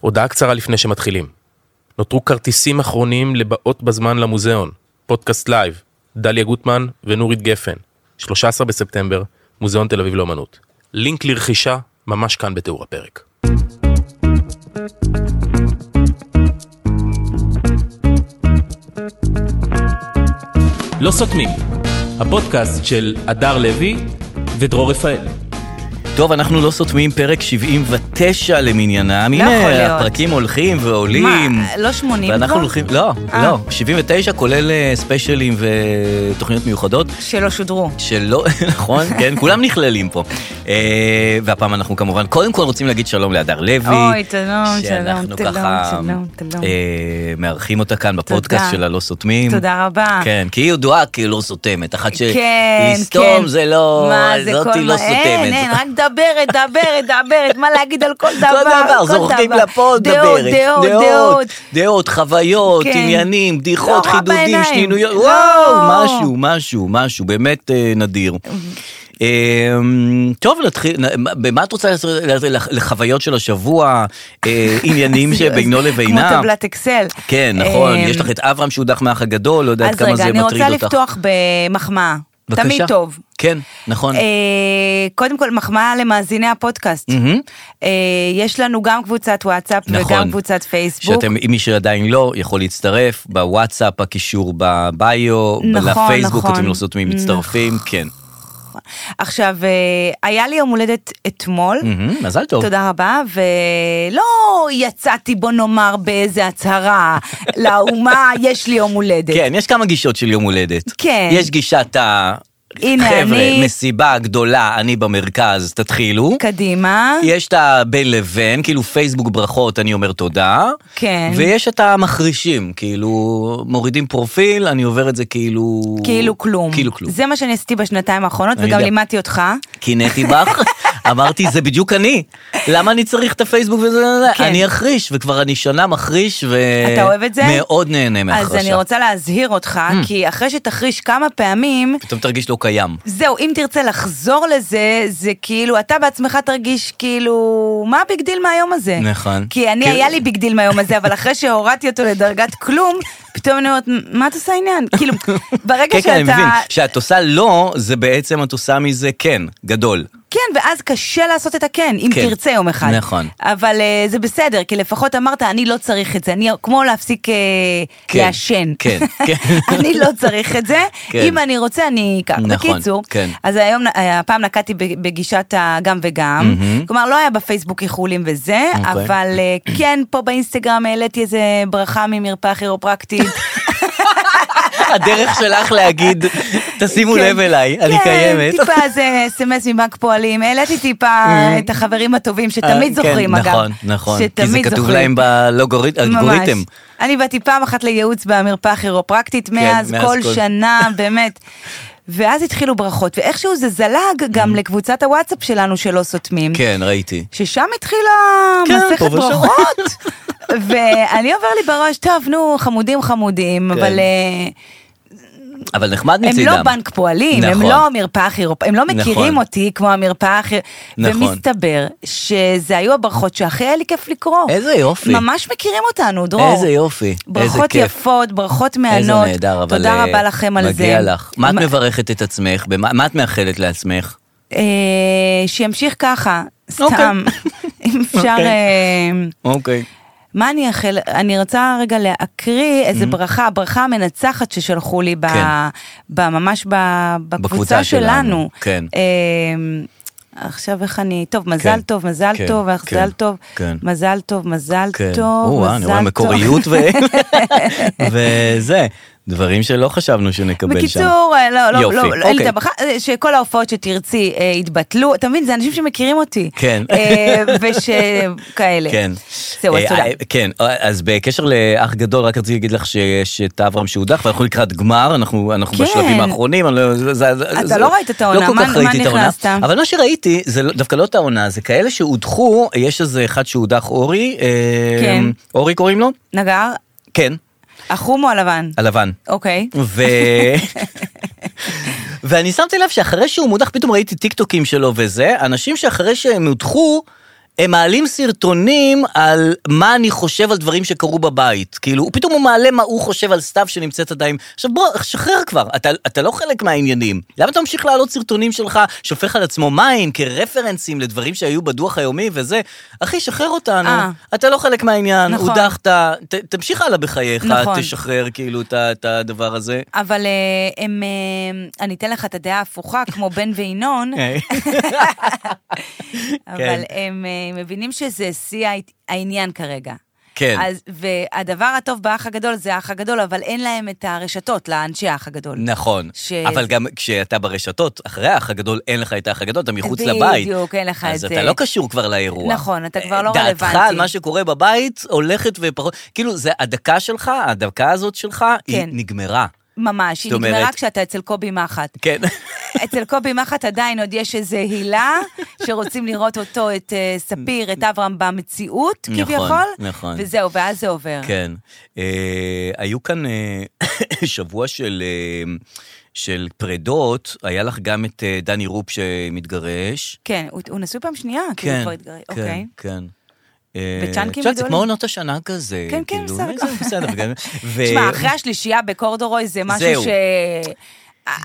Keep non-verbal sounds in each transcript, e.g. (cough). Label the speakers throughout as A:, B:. A: הודעה קצרה לפני שמתחילים. נותרו כרטיסים אחרונים לבאות בזמן למוזיאון. פודקאסט לייב, דליה גוטמן ונורית גפן. 13 בספטמבר, מוזיאון תל אביב לאמנות. לינק לרכישה ממש כאן בתיאור הפרק. לא סותמים, הפודקאסט של הדר לוי ודרור רפאל.
B: טוב, אנחנו לא סותמים פרק 79 למניינם.
C: יכול
B: הנה,
C: להיות.
B: הפרקים הולכים ועולים.
C: מה, לא 80
B: ואנחנו
C: כבר?
B: הולכים, לא,
C: אה.
B: לא, 79 כולל אה, ספיישלים ותוכניות מיוחדות.
C: שלא שודרו.
B: שלא, (laughs)
C: (laughs)
B: נכון, כן, כולם נכללים פה. אה, והפעם אנחנו כמובן, קודם כל רוצים להגיד שלום להדר לוי.
C: אוי, שלום, שלום,
B: שאנחנו
C: שלום,
B: ככה
C: שלום, שלום.
B: אה, מארחים אותה כאן בפודקאסט של הלא סותמים.
C: תודה רבה.
B: כן, כי היא ידועה כלא סותמת, אחת ש...
C: כן,
B: לסתום
C: כן.
B: זה לא...
C: מה זה כל
B: זאתי לא
C: מה- אה, אין, אין,
B: סותמת.
C: רק דברת, דברת, דברת, מה להגיד על כל דבר,
B: (laughs) כל דבר, זורקים
C: דבר.
B: לפה,
C: דעות,
B: דברת.
C: דעות, דעות.
B: דעות, חוויות,
C: כן.
B: עניינים, בדיחות,
C: לא רע
B: חידודים,
C: בעיניים.
B: שנינויות,
C: לא.
B: וואו, משהו, משהו, משהו, באמת אה, נדיר.
C: אה,
B: אמ, טוב, נתחיל, נ- מה- במה את רוצה לעשות לח- לחוויות של השבוע,
C: (laughs)
B: אה, עניינים שבינו
C: כמו
B: לבינה?
C: טבלת אקסל.
B: כן, נכון,
C: אמ,
B: יש לך את אברהם שהודח מהאח הגדול, לא יודעת
C: אז
B: כמה זה
C: רגע, אני
B: מטריד אותך.
C: רוצה לפתוח במחמאה.
B: בבקשה.
C: תמיד טוב.
B: כן, נכון.
C: אה, קודם כל מחמאה למאזיני הפודקאסט.
B: מהמם.
C: אה, יש לנו גם קבוצת וואטסאפ
B: נכון.
C: וגם קבוצת פייסבוק.
B: שאתם, אם מי שעדיין לא, יכול להצטרף בוואטסאפ, הקישור בביו,
C: נכון,
B: לפייסבוק,
C: נכון.
B: אתם לא סותמים, מצטרפים, כן.
C: עכשיו, אה, היה לי יום הולדת אתמול.
B: מהמם, מזל טוב.
C: תודה רבה, ולא יצאתי בוא נאמר
B: (laughs)
C: באיזה הצהרה לאומה, יש לי יום הולדת.
B: כן, יש כמה גישות של יום הולדת.
C: כן.
B: יש גישת ה...
C: הנה,
B: חבר'ה,
C: אני- כן.
B: מסיבה גדולה, אני במרכז, תתחילו.
C: קדימה.
B: יש את הבין לבין, כאילו פייסבוק ברכות, אני אומר תודה.
C: כן.
B: ויש את המחרישים, כאילו, מורידים פרופיל, אני עובר את זה כאילו...
C: כאילו כלום.
B: כאילו כלום.
C: זה מה שאני עשיתי בשנתיים האחרונות,
B: אני
C: וגם
B: יודע.
C: לימדתי אותך.
B: קינאתי
C: (laughs)
B: בך, אמרתי זה בדיוק אני, למה אני צריך את הפייסבוק וזה,
C: כן.
B: אני אחריש, וכבר אני שנה מחריש, ו...
C: אתה אוהב את זה?
B: מאוד נהנה
C: אז
B: מהחרשה.
C: אני רוצה להזהיר אותך,
B: Mm.
C: כי אחרי שתחריש כמה פעמים,
B: פתאום תרגיש לא קיים.
C: זהו, אם תרצה לחזור לזה, זה כאילו, אתה בעצמך תרגיש כאילו, מה הביג דיל מהיום הזה?
B: נכון.
C: כי אני,
B: כי-
C: היה לי ביג דיל מהיום הזה, אבל אחרי שהורדתי אותו לדרגת כלום, פתאום אני אומרת, מה את עושה עניין?
B: (laughs)
C: כאילו, ברגע
B: כן,
C: שאתה...
B: כן, אני מבין, שאת עושה לא, זה בעצם את עושה מזה כן, גדול.
C: כן, ואז קשה לעשות את הכן, אם
B: כן.
C: כן. תרצה יום אחד.
B: נכון.
C: אבל אה, זה בסדר, כי לפחות אמרת, אני לא צריך את זה. אני כמו להפסיק אה,
B: כן,
C: לעשן. (laughs)
B: כן, כן.
C: אני לא צריך את זה.
B: כן.
C: אם אני רוצה, אני אקח.
B: נכון,
C: בקיצור,
B: כן.
C: אז היום, אה, הפעם נקטתי ב- בגישת הגם וגם. כלומר, לא היה בפייסבוק איחולים וזה,
B: אוקיי.
C: אבל אה, כן, פה באינסטגרם העליתי איזה ברכה ממרפאה
B: (laughs)
C: כירופרקטית.
B: הדרך שלך
C: (laughs)
B: להגיד, תשימו
C: כן.
B: לב אליי, אני
C: כן,
B: קיימת.
C: טיפה זה אס.אם.אס מבנק פועלים, העליתי טיפה את החברים הטובים שתמיד
B: אה, כן,
C: זוכרים אגב.
B: נכון, נכון, כי זה
C: שתמיד
B: כתוב
C: זוכרים.
B: להם
C: ממש.
B: באלגוריתם. כן,
C: אני באתי פעם אחת לייעוץ במרפאה הכירופרקטית, מאז
B: מאז
C: כל
B: כל- (laughs)
C: שנה, באמת. ואז התחילו ברכות, ואיכשהו זה זלג גם לקבוצת הוואטסאפ שלנו שלא סותמים.
B: Mm. כן, ראיתי.
C: ששם התחילה
B: כן, פה
C: מסכת
B: ושם.
C: ברכות.
B: (laughs)
C: ואני עובר לי בראש, טוב, נו, חמודים חמודים,
B: כן.
C: אבל... אה,
B: אבל נחמד
C: הם
B: מצידם.
C: לא בנק פועלים, הם
B: נכון.
C: לא מרפאה כירופ... הם לא
B: נכון.
C: מכירים אותי כמו המרפאה הכי...
B: נכון.
C: ומסתבר שזה היו הברכות שהכי היה לי כיף לקרוא.
B: איזה יופי.
C: ממש מכירים אותנו, דרור.
B: איזה יופי, איזה
C: ברכות
B: כיף.
C: יפות, ברכות מענות.
B: איזה נהדר, אבל...
C: תודה
B: אה,
C: רבה לכם על זה.
B: מגיע לך. מה את
C: מ-
B: מברכת את עצמך? במה מה את מאחלת לעצמך?
C: אה, שימשיך ככה,
B: אוקיי.
C: סתם. (laughs) אם אפשר...
B: אוקיי.
C: אה,
B: אוקיי.
C: מה אני אאחל? אני רוצה רגע להקריא איזה ברכה, הברכה המנצחת ששלחו לי, ב,
B: Mm-hmm. כן.
C: ב, ממש ב, בקבוצה,
B: בקבוצה שלנו,
C: שלנו.
B: כן.
C: אמ, עכשיו איך אני, טוב, מזל
B: כן,
C: טוב, מזל
B: כן,
C: טוב,
B: כן,
C: מזל טוב,
B: כן.
C: מזל טוב, מזל
B: כן.
C: טוב,
B: או-אה, אני רואה
C: מזל טוב. (laughs)
B: מקוריות ו... וזה. דברים שלא חשבנו שנקבל שם.
C: בקיצור, אה, לא, לא,
B: יופי,
C: לא, לא, אין לי
B: אוקיי.
C: את הברכה, אה, שכל ההופעות שתרצי אה, יתבטלו, אתה מבין, זה אנשים שמכירים אותי.
B: כן.
C: אה, ושכאלה.
B: כן.
C: זהו, אז
B: אה,
C: תודה.
B: אה, כן, אה, אז בקשר לאח גדול, רק רציתי להגיד לך שיש את אברהם שהודח, ואנחנו לקראת גמר, אנחנו אנחנו
C: כן.
B: בשלבים האחרונים, אני לא... זה- זה-
C: אתה
B: זה-
C: לא ראית את העונה,
B: לא כל
C: מה-
B: כך
C: מה
B: ראיתי את העונה.
C: נכנסת?
B: אבל מה שראיתי, זה לא- דווקא לא את העונה, זה כאלה שהודחו, יש איזה אחד שהודח אורי, אה,
C: כן.
B: אורי קוראים לו?
C: נגר,
B: כן,
C: החום או הלבן?
B: הלבן.
C: אוקיי.
B: ו... ואני שמתי לב שאחרי שהוא מודח, פתאום ראיתי טיקטוקים שלו וזה, אנשים שאחרי שהם הודחו, הם מעלים סרטונים על מה אני חושב על דברים שקרו בבית. כאילו, הוא פתאום הוא מעלה מה הוא חושב על סתיו שנמצאת עדיין. עכשיו בוא, שחרר כבר, אתה, אתה לא חלק מהעניינים. למה אתה ממשיך להעלות סרטונים שלך, שופך על עצמו מים כרפרנסים לדברים שהיו בדוח היומי וזה? אחי, שחרר אותנו,
C: אה.
B: אתה לא חלק מהעניין,
C: נכון.
B: הודחת, ת, תמשיך הלאה בחייך,
C: נכון.
B: תשחרר כאילו את ה- את הדבר הזה.
C: אבל אה, הם, אה, אני אתן לך את הדעה ההפוכה,
B: (laughs)
C: כמו בן וינון,
B: כן.
C: אבל הם אה, מבינים שזה שיא ההת- העניין כרגע.
B: כן.
C: אז, והדבר הטוב באח הגדול זה האח הגדול, אבל אין להם את הרשתות לאנשי האח הגדול.
B: נכון,
C: ש-
B: אבל גם כשאתה ברשתות, אחרי האח הגדול, אין לך את האח הגדול, אתה מחוץ
C: בדיוק,
B: לבית.
C: אין לך את
B: אז
C: זה.
B: אתה לא קשור כבר לאירוע. אה,
C: נכון, אתה כבר לא
B: דעתך
C: רלוונטי.
B: על מה שקורה בבית הולכת ופחות, כאילו, זה הדקה שלך, הדקה הזאת שלך, היא
C: כן.
B: נגמרה.
C: ממש, היא
B: זאת אומרת-
C: נגמרה כשאתה אצל קובי מחט.
B: כן.
C: אצל קובי מחט עדיין עוד יש איזו הילה, שרוצים לראות אותו, את אה, ספיר, את אברהם במציאות,
B: נכון,
C: כביכול.
B: נכון.
C: וזהו, ואז זה עובר.
B: (laughs) כן. אה, היו כאן אה, (coughs) שבוע של, אה, של פרדות, היה לך גם את אה, דני רופ שמתגרש.
C: כן, הוא- הוא נשוי פעם שנייה, כאילו כבר התגרש,
B: כן,
C: אוקיי.
B: כן. אה,
C: בצ'אנקים
B: את יודעת, זה
C: גדולים.
B: כמו עונות השנה כזה.
C: כן, כן,
B: כאילו,
C: בסדר.
B: זה בסדר.
C: (laughs)
B: גם- ו-
C: תשמע, אחרי השלישייה בקורדורוי זה משהו
B: אה, זהו.
C: ש...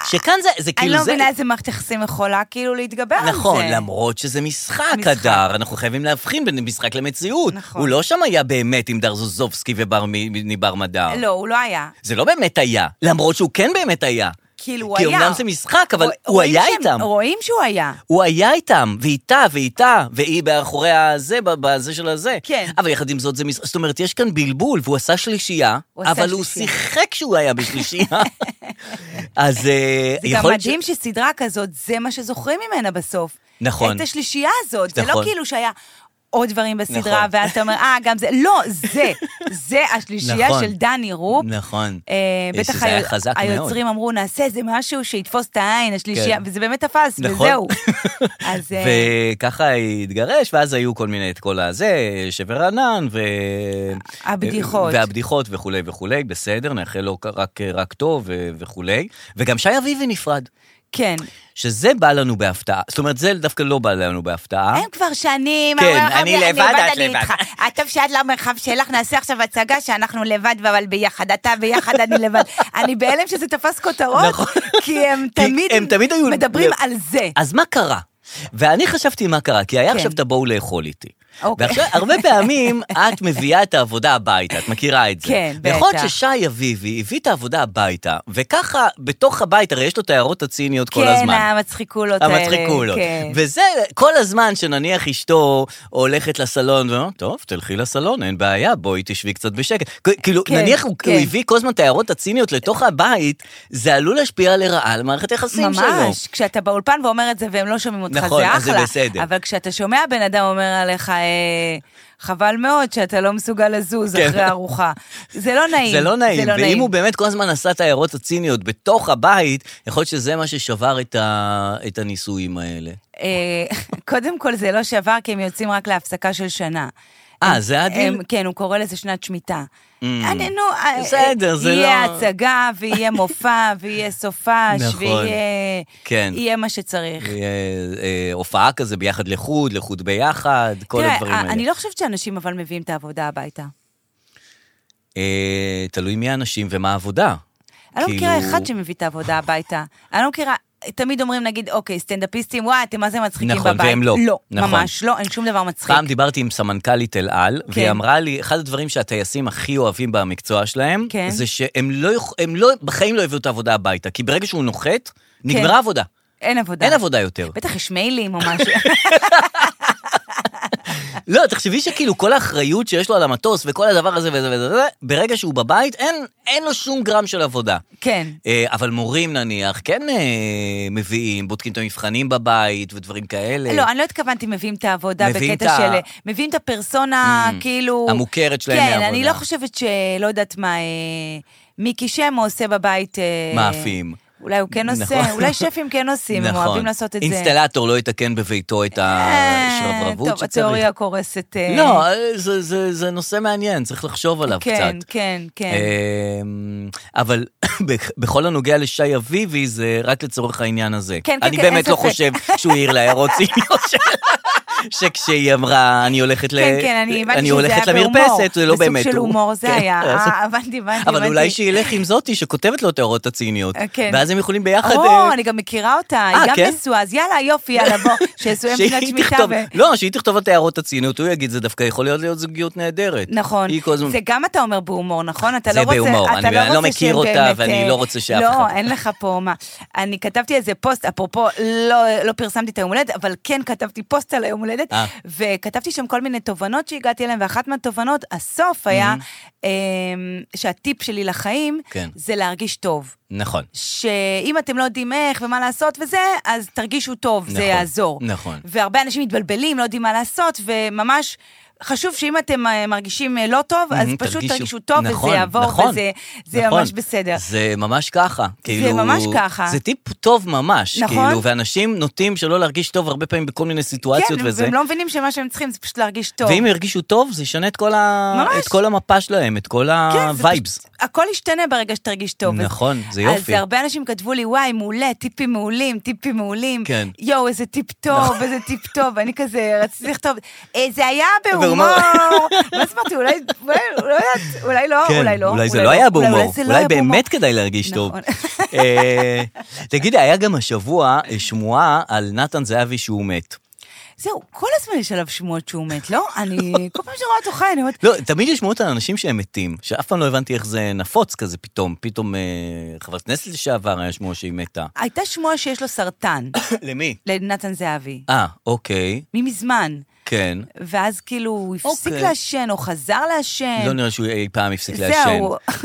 B: שכאן זה, זה
C: אני
B: כאילו
C: לא
B: זה...
C: מבינה איזה מערכת יחסים יכולה כאילו להתגבר על זה.
B: נכון, למרות שזה משחק,
C: משחק.
B: הדר, אנחנו חייבים להבחין בין משחק למציאות.
C: נכון.
B: הוא לא שם היה באמת עם דרזוזובסקי ובר מדר.
C: לא, הוא לא היה.
B: זה לא באמת היה, למרות שהוא כן באמת היה.
C: כאילו, הוא
B: כי
C: היה.
B: כי אמנם זה משחק, אבל
C: רוא-
B: הוא
C: רואים
B: היה
C: שהם-
B: איתם.
C: רואים שהוא היה.
B: הוא היה איתם, ואיתה, ואיתה, והיא מאחורי הזה, ב- בזה של הזה.
C: כן.
B: אבל יחד עם זאת, זה מש... זאת אומרת, יש כאן בלבול, והוא עשה שלישייה,
C: הוא עשה
B: אבל הוא
C: שלישייה.
B: שיחק שהוא היה
C: (laughs)
B: בשלישייה. אז אה,
C: זה גם
B: יכול להיות ש-
C: מדהים שסדרה כזאת, זה מה שזוכרים ממנה בסוף.
B: נכון.
C: את השלישייה הזאת. זה לא
B: נכון.
C: כאילו שהיה עוד דברים בסדרה,
B: נכון.
C: ואז אתה אומר, אה, גם זה. לא, זה. זה השלישייה
B: נכון.
C: של דני רופ.
B: נכון.
C: אה,
B: אה,
C: בטח
B: שזה היה
C: היו-
B: חזק מאוד.
C: היוצרים אמרו, נעשה איזה משהו שיתפוס את העין, השלישייה,
B: כן.
C: וזה באמת תפס,
B: נכון.
C: וזהו. אז אה,
B: וככה התגרש, ואז היו כל מיני, את כל הזה, שבר ענן, ו...
C: הבדיחות.
B: והבדיחות וכולי וכולי, בסדר, נאחל לו רק, רק טוב ו- וכולי. וגם שי אביבי נפרד,
C: כן.
B: שזה בא לנו בהפתעה. זאת אומרת, זה דווקא לא בא לנו בהפתעה.
C: הם כבר שנים,
B: כן,
C: אבל-
B: אני לבד, את
C: אני
B: לבד.
C: איתך. אה, טוב שאת למרחב שלך, נעשה עכשיו הצגה שאנחנו לבד, אבל ביחד. אתה ביחד, אני
B: (laughs)
C: לבד. אני בהלם שזה תפס כותרות,
B: נכון.
C: כי הם
B: (laughs) כי
C: תמיד
B: הם תמיד היו- אה,
C: מדברים
B: לב-
C: על זה.
B: אז מה קרה? ואני חשבתי מה קרה, כי היה
C: כן.
B: עכשיו תבואו לאכול איתי.
C: אוקיי.
B: ועכשיו, הרבה פעמים את מביאה את העבודה הביתה, את מכירה את זה.
C: כן,
B: ויכול להיות
C: בטח.
B: ששי אביבי הביא את העבודה הביתה, וככה, בתוך הבית, הרי יש לו את ההערות הציניות כל הזמן.
C: כן, המצחיקולות האלה.
B: המצחיקולות.
C: כן.
B: לא. וזה כל הזמן שנניח אשתו הולכת לסלון, ואומר, טוב, תלכי לסלון, אין בעיה, בואי תשבי קצת בשקט. כ- כאילו,
C: כן,
B: נניח הוא
C: כן.
B: הוא הביא כל הזמן את ההערות הציניות לתוך הבית, זה עלול להשפיע לרעה על מערכת היחסים שלו.
C: ממש, כשאתה באולפן ואומר את זה והם לא שומעים אותך,
B: נכון,
C: זה אחלה.
B: אז זה בסדר.
C: אבל כשאתה שומע בן אדם אומר עליך, אה, חבל מאוד שאתה לא מסוגל לזוז
B: כן.
C: אחרי ארוחה. זה לא נעים.
B: (laughs) זה לא נעים, ואם הוא באמת כל הזמן עשה את ההערות הציניות בתוך הבית, יכול להיות שזה מה ששבר את, ה... את הניסויים האלה.
C: אה, (laughs) קודם כל, זה לא שעבר, כי הם יוצאים רק להפסקה של שנה.
B: אה,
C: הם-
B: זה הדיל?
C: הם- כן, הוא קורא לזה שנת שמיטה. אני, נו, אה,
B: Mm. בסדר,
C: אה,
B: זה
C: יהיה
B: לא-
C: הצגה, ויהיה
B: (laughs)
C: מופע, ויהיה סופש,
B: נכון.
C: ויהיה...
B: כן.
C: יהיה מה שצריך.
B: אה, אה, הופעה כזה ביחד לחוד, לחוד ביחד, כל
C: תראה,
B: הדברים
C: אה,
B: האלה.
C: אני לא חושבת שאנשים אבל מביאים את העבודה הביתה.
B: אה, תלוי מי האנשים ומה העבודה.
C: אני לא מכירה
B: כאילו-
C: אחד שמביא את העבודה הביתה. אני לא מכירה, תמיד אומרים, נגיד, אוקיי, סטנדאפיסטים, וואי, אתם מה זה מצחיקים
B: נכון,
C: בבית.
B: והם לא.
C: לא,
B: נכון.
C: ממש לא, אין שום דבר מצחיק.
B: פעם דיברתי עם סמנכ"לית אל על,
C: כן.
B: והיא אמרה לי, אחד הדברים שהטייסים הכי אוהבים במקצוע שלהם,
C: כן.
B: זה שהם לא, יוכ- הם לא, בחיים לא הביאו את העבודה הביתה, כי ברגע שהוא נוחת, נגמרה עבודה.
C: אין עבודה.
B: אין עבודה יותר.
C: כן. אה, בטח יש מיילים או משהו.
B: לא, תחשבי שכאילו כל האחריות שיש לו על המטוס וכל הדבר הזה וזה וזה וזה, ברגע שהוא בבית, אין, אין לו שום גרם של עבודה.
C: כן.
B: אה, אבל מורים נניח, כן אה, מביאים, בודקים את המבחנים בבית ודברים כאלה.
C: לא, אני לא התכוונתי מביאים את העבודה
B: מביאים
C: בקטע
B: את ה- Mm.
C: של... אה, מביאים את הפרסונה, כאילו...
B: המוכרת שלהם
C: כן,
B: מהעבודה.
C: אני לא חושבת ש... לא יודעת מה, אה, מיקי שמו עושה בבית... אה,
B: מאפים.
C: אולי הוא כן
B: נכון.
C: עושה, אולי שפים
B: (laughs)
C: כן עושים, הם
B: נכון.
C: אוהבים לעשות את זה.
B: אינסטלטור לא יתקן בביתו את
C: אה,
B: השרברבות
C: טוב, התיאוריה קורסת. אה,
B: לא, אה, זה- זה- זה נושא מעניין, צריך לחשוב עליו קצת.
C: כן, כן, כן.
B: אמ, אבל (coughs) בכ- בכל הנוגע לשי אביבי, זה רק לצורך העניין הזה.
C: כן, כן,
B: אני
C: כן,
B: באמת
C: אין
B: לא
C: ספק. (laughs)
B: חושב שהוא העיר להערות ציניות שלה. שכשהיא אמרה, אני הולכת ל...
C: כן, כן, אני הבנתי שזה היה
B: הולכת
C: בהומור.
B: למרפסת, זה לא באמת
C: סוג של
B: הוא.
C: הומור זה
B: כן, (laughs)
C: היה.
B: היה סוג-
C: אה, הבנתי, הבנתי.
B: אבל אולי
C: הבנתי.
B: שילך עם זאתי שכותבת לו את ההערות הציניות.
C: אה, כן.
B: ואז הם יכולים ביחד... אה,
C: או, אני גם מכירה אותה,
B: אה,
C: היא
B: כן?
C: גם נשואה, אז יאללה, יופי, יאללה,
B: (laughs)
C: בוא, שיסויים שנת
B: שהיא
C: שמיטה.
B: תכתוב,
C: ו-
B: לא, שהיא תכתוב את הערות הציניות, הוא יגיד, זה דווקא יכול להיות להיות זוגיות נהדרת.
C: נכון.
B: היא כל הזמן...
C: זה גם אתה אומר בהומור, נכון? אתה
B: זה
C: לא רוצה...
B: בהומור, אני-
C: אתה
B: אני לא
C: רוצה
B: מכיר
C: שהם
B: אותה,
C: באמת,
B: ואני
C: אה,
B: לא רוצה שאף
C: לא,
B: אחד-
C: לא, אין לך פה מה. אני כתבתי איזה פוסט, אפרופו, לא, לא פרסמתי את היום הולדת, אבל כן כתבתי פוסט על היום הולדת,
B: אה.
C: וכתבתי שם כל מיני תובנות שהגעתי אליהן, ואחת מהתובנות, הסוף היה אמ, שהטיפ שלי לחיים
B: כן.
C: זה להרגיש טוב.
B: נכון.
C: שאם אתם לא יודעים איך ומה לעשות וזה, אז תרגישו טוב, זה
B: נכון,
C: יעזור.
B: נכון.
C: והרבה אנשים מתבלבלים, לא יודעים מה לעשות, וממש חשוב שאם אתם אה, מרגישים אה, לא טוב, אז
B: Mhm,
C: פשוט תרגישו טוב,
B: נכון,
C: וזה יעבור,
B: נכון,
C: וזה זה
B: נכון.
C: ממש בסדר.
B: זה ממש ככה. כאילו,
C: ממש ככה.
B: זה טיפ טוב ממש.
C: נכון.
B: כאילו, ואנשים נוטים שלא להרגיש טוב הרבה פעמים בכל מיני סיטואציות
C: כן,
B: וזה.
C: והם לא מבינים שמה שהם צריכים זה פשוט להרגיש טוב.
B: ואם ירגישו טוב, זה ישנה את כל, ה...
C: ממש.
B: את כל המפה שלהם, את כל
C: כן, זה
B: הווייבס.
C: פשוט- הכל ישתנה ברגע שתרגיש טוב. אז-
B: נכון, זה יופי.
C: אז הרבה אנשים כתבו לי, וואי, מעולה, טיפים מעולים, טיפים מעולים.
B: כן. נכון.
C: יואו, איזה טיפ טוב, איזה טיפ טוב. אני כזה רציתי לכתוב, "אה, זה היה
B: בהומור."
C: בהומור. (laughs) ואז אמרתי, אולי, אולי, לא יודעת, אולי לא,
B: כן,
C: אולי לא.
B: אולי זה לא היה בהומור,
C: זה לא
B: אולי
C: היה בהומור.
B: באמת כדאי להרגיש טוב.
C: נכון.
B: אה, תגידי, היה גם השבוע אה, שמועה על נתן זהבי שהוא מת.
C: זהו, כל הזמן יש עליו שמועות שהוא מת, לא? אני,
B: (laughs)
C: כל פעם שרואה אותו חי, אני אומרת,
B: לא, תמיד יש שמועות על אנשים שהם מתים, שאף פעם לא הבנתי איך זה נפוץ כזה פתאום. פתאום אה, חברת כנסת לשעבר היה שמועה שהיא מתה.
C: הייתה שמועה שיש לו סרטן, (coughs)
B: למי?
C: לנתן זהבי.
B: אה, אוקיי,
C: ממזמן.
B: כן.
C: ואז כאילו הוא הפסיק
B: אוקיי.
C: לעשן, או חזר לעשן.
B: לא נראה שהוא אי פעם הפסיק
C: זהו.
B: לעשן.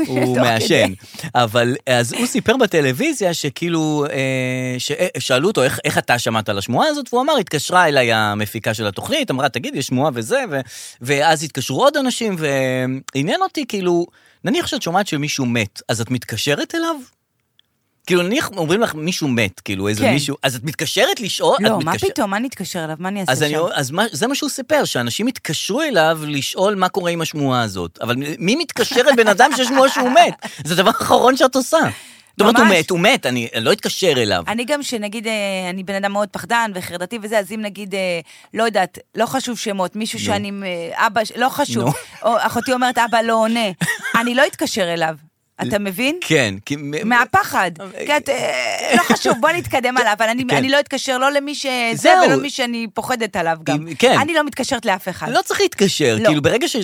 B: הוא
C: (laughs) תוך
B: מעשן. אבל אז הוא סיפר בטלוויזיה שכאילו, אה, ש- אה, שאלו אותו, "איך- איך אתה שמעת על השמועה הזאת? והוא אמר, התקשרה אליי המפיקה של התוכנית, אמרה, תגיד, יש שמועה וזה, ו- ואז התקשרו עוד אנשים, ועניין אותי, כאילו, נניח שאת שומעת שמישהו מת, אז את מתקשרת אליו? כאילו, נניח אומרים לך, מישהו מת, כאילו, איזה
C: כן.
B: מישהו, אז את מתקשרת לשאול? את
C: לא, מה
B: מתקשר-
C: פתאום, מה נתקשר אליו? מה אני אעשה
B: אז, אני,
C: שם?
B: אז מה, זה מה שהוא סיפר, שאנשים התקשרו אליו לשאול מה קורה עם השמועה הזאת. אבל מי מתקשר אל בן אדם שיש שמועה שהוא מת? זה הדבר האחרון שאת עושה. זאת אומרת, הוא
C: ממש.
B: מת, הוא מת, אני לא אתקשר אליו.
C: אני גם, שנגיד, אה, אני בן אדם מאוד פחדן וחרדתי וזה, אז אם נגיד, אה, לא יודעת, לא חשוב שמות, מישהו שאני, אה, אבא, ש- לא חשוב,
B: נו.
C: או אחותי אומרת, אבא לא
B: (laughs)
C: עונה, אני לא אתקשר אליו, אתה מבין?
B: כן, כי... מ-
C: מהפחד. כי את, אה, לא חשוב, בוא נתקדם עליו, אבל אני-
B: (laughs) כן.
C: אני לא אתקשר לא למי שזה,
B: זהו.
C: ולא למי שאני פוחדת עליו גם.
B: אם- כן.
C: אני לא מתקשרת לאף אחד.
B: לא צריך להתקשר,
C: לא.
B: כאילו ברגע ש-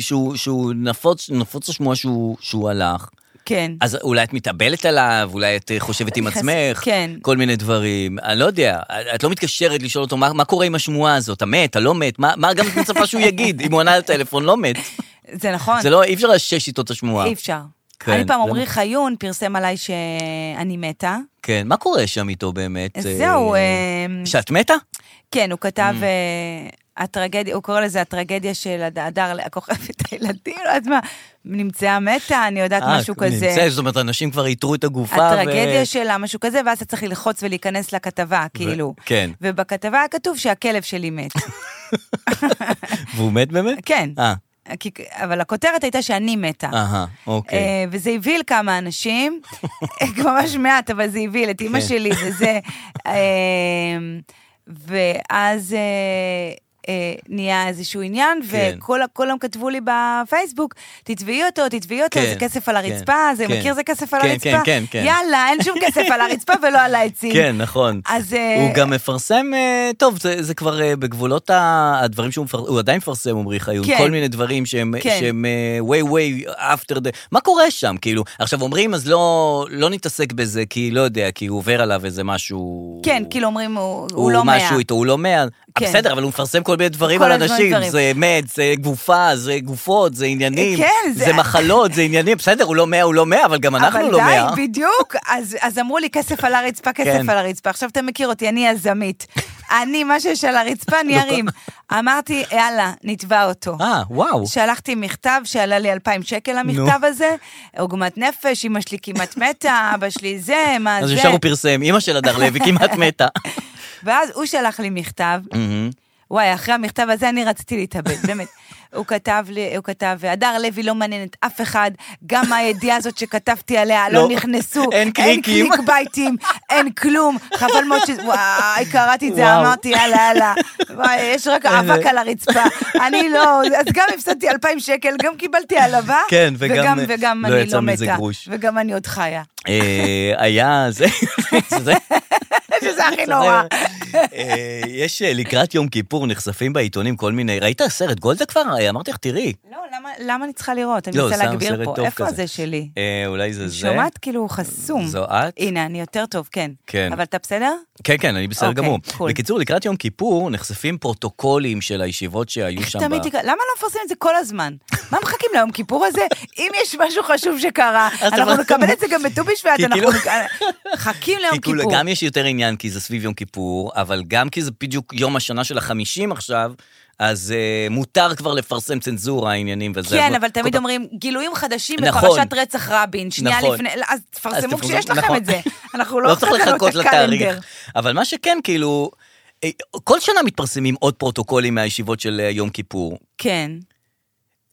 B: שהוא- שהוא נפוץ נפוץ השמועה שהוא שהוא הלך,
C: כן.
B: אז אולי את מתאבלת עליו, אולי את אה, חושבת עם
C: נכנס-
B: עצמך,
C: כן.
B: כל מיני דברים. אני לא יודע, את לא מתקשרת לשאול אותו מה מה קורה עם השמועה הזאת, אתה מת, אתה לא מת, מה מה גם את מצפה שהוא יגיד, אם הוא ענה לטלפון, לא מת.
C: זה נכון.
B: זה לא, אי אפשר לאשש איתו את השמועה.
C: אי אפשר.
B: כן,
C: אני פעם
B: זה-
C: עמרי חיון פרסם עליי שאני מתה.
B: כן, מה קורה שם איתו באמת?
C: אז
B: אה,
C: זהו, אה,
B: שאת מתה?
C: כן, הוא כתב...
B: Mm.
C: אה, הטרגדיה, הוא קורא לזה הטרגדיה של הד- הדר, הכוכבת הילדים, לא יודעת מה, נמצאה מתה, אני יודעת
B: אה,
C: משהו כזה.
B: נמצא, זאת אומרת, אנשים כבר איתרו את הגופה. ו-
C: הטרגדיה שלה, משהו כזה, ואז אתה צריך ללחוץ ולהיכנס לכתבה, כאילו.
B: כן.
C: ובכתבה היה כתוב שהכלב שלי
B: (laughs)
C: מת.
B: והוא מת באמת?
C: כן.
B: אה,
C: כי- אבל הכותרת הייתה שאני מתה.
B: אהה, אוקיי.
C: אה, וזה הבהיל כמה אנשים, (laughs) ממש מעט, אבל זה הבהיל את אימא
B: כן.
C: שלי
B: (laughs)
C: וזה. אה, ואז אה, אה, נהיה איזשהו עניין,
B: כן.
C: וכל כולם כתבו לי בפייסבוק, תתבעי אותו, תתבעי
B: כן,
C: אותו, זה כסף על
B: כן,
C: הרצפה, זה
B: כן.
C: מכיר זה כסף על
B: כן,
C: הרצפה?
B: כן, כן, כן.
C: יאללה, אין שום כסף על הרצפה ולא על העצים.
B: (laughs) כן, נכון.
C: אז, אה,
B: הוא גם מפרסם, אה, טוב, זה, זה כבר אה, בגבולות ה- הדברים שהוא מפרסם, הוא עדיין מפרסם, עמרי חיון,
C: כן.
B: כל מיני דברים שהם,
C: כן.
B: שהם אה, way way after the... מה קורה שם, כאילו? עכשיו אומרים, אז לא, לא נתעסק בזה, כי לא יודע, כי הוא עובר עליו איזה משהו...
C: כן, כאילו אומרים, הוא הוא לא מאה.
B: משהו איתו, הוא לא מאה.
C: כן.
B: בסדר, אבל הוא מפרסם כל מיני דברים
C: כל
B: על
C: הזמן
B: אנשים.
C: דברים.
B: זה מת, זה גופה, זה גופות, זה עניינים.
C: כן, זה-
B: זה מחלות, זה עניינים. בסדר, הוא לא מאה, הוא לא מאה, אבל גם אנחנו לא מאה.
C: אבל די, בדיוק. אז, אז אמרו לי, כסף על הרצפה, כסף
B: כן.
C: על הרצפה. עכשיו אתה מכיר אותי, אני יזמית. אני, מה שיש על הרצפה, אני ארים. אמרתי, יאללה, נתבע אותו.
B: לא אה, וואו.
C: שלחתי מכתב שעלה לי 2,000 שקל, המכתב הזה, עוגמת נפש, אמא שלי כמעט מתה, אבא שלי זה, מה
B: אז
C: זה.
B: ישר הוא פרסם, אימא של הדר לוי
C: (laughs)
B: כמעט מתה. (laughs)
C: ואז הוא שלח לי מכתב, וואי, אחרי המכתב הזה אני רציתי להתאבד, באמת. הוא כתב, לי, הוא כתב, הדר לוי לא מעניינת אף אחד, גם הידיעה הזאת שכתבתי עליה, לא
B: לא.
C: נכנסו,
B: (laughs) אין קליקים."
C: אין קליקבייטים, אין כלום, חבל מאוד ש... וואי, קראתי את זה,
B: וואו. אה.
C: אמרתי, יאללה, יאללה, וואי, יש רק אבק על הרצפה, אני לא, אז גם הפסדתי 2,000 שקל, גם קיבלתי העלבה,
B: כן, וגם, אה,
C: וגם
B: לא
C: אני
B: יצא
C: לא
B: מזה
C: מתה,
B: גרוש.
C: וגם אני עוד חיה, (laughs)
B: אה, היה זה, (laughs) זה-
C: שזה הכי נורא.
B: אה, יש אה, לקראת יום כיפור נחשפים בעיתונים כל מיני, ראית סרט גולדה כבר? אה, אמרתי לך, תראי.
C: לא, למה- למה אני צריכה לראות? אני
B: לא,
C: רוצה
B: סתם
C: להגביר
B: סרט
C: פה,
B: טוב
C: איפה
B: כזה.
C: זה שלי?
B: אה, אולי זה זה.
C: שומעת כאילו חסום.
B: זו את?
C: הנה, אני יותר טוב, כן.
B: כן.
C: אבל אתה בסדר?
B: כן, כן, אני בסדר
C: אוקיי,
B: גמור.
C: cool.
B: בקיצור, לקראת יום כיפור נחשפים פרוטוקולים של הישיבות שהיו
C: איך
B: שם.
C: תמיד
B: ב-
C: תקרא, למה לא מפרסמים את זה כל הזמן? מה מחכים ליום כיפור הזה? אם יש משהו חשוב שקרה,
B: אז
C: אנחנו
B: אבל-
C: נקבל את זה גם בט"ו בשבט,
B: כי
C: אנחנו
B: כאילו-
C: נק- מחכים ליום
B: כי כאילו
C: כיפור.
B: גם יש יותר עניין כי זה סביב יום כיפור, אבל גם כי זה בדיוק יום השנה של החמישים עכשיו, אז uh, מותר כבר לפרסם צנזורה, העניינים וזה. אז
C: כן,
B: מה-
C: אבל
B: כל
C: תמיד
B: פעם-
C: אומרים, גילויים חדשים
B: נכון.
C: בפרשת רצח רבין, שנייה
B: נכון.
C: לפני, אז
B: אז
C: תפרסמו
B: תפרסמו,
C: כשיש לכם
B: נכון.
C: את
B: (laughs)
C: זה. אנחנו לא
B: לא צריך
C: חזרנו
B: לחכות
C: את הקלנדר.
B: לתאריך. אבל מה שכן, כאילו, אה, כל שנה מתפרסמים עוד פרוטוקולים מהישיבות של אה, יום כיפור.
C: כן.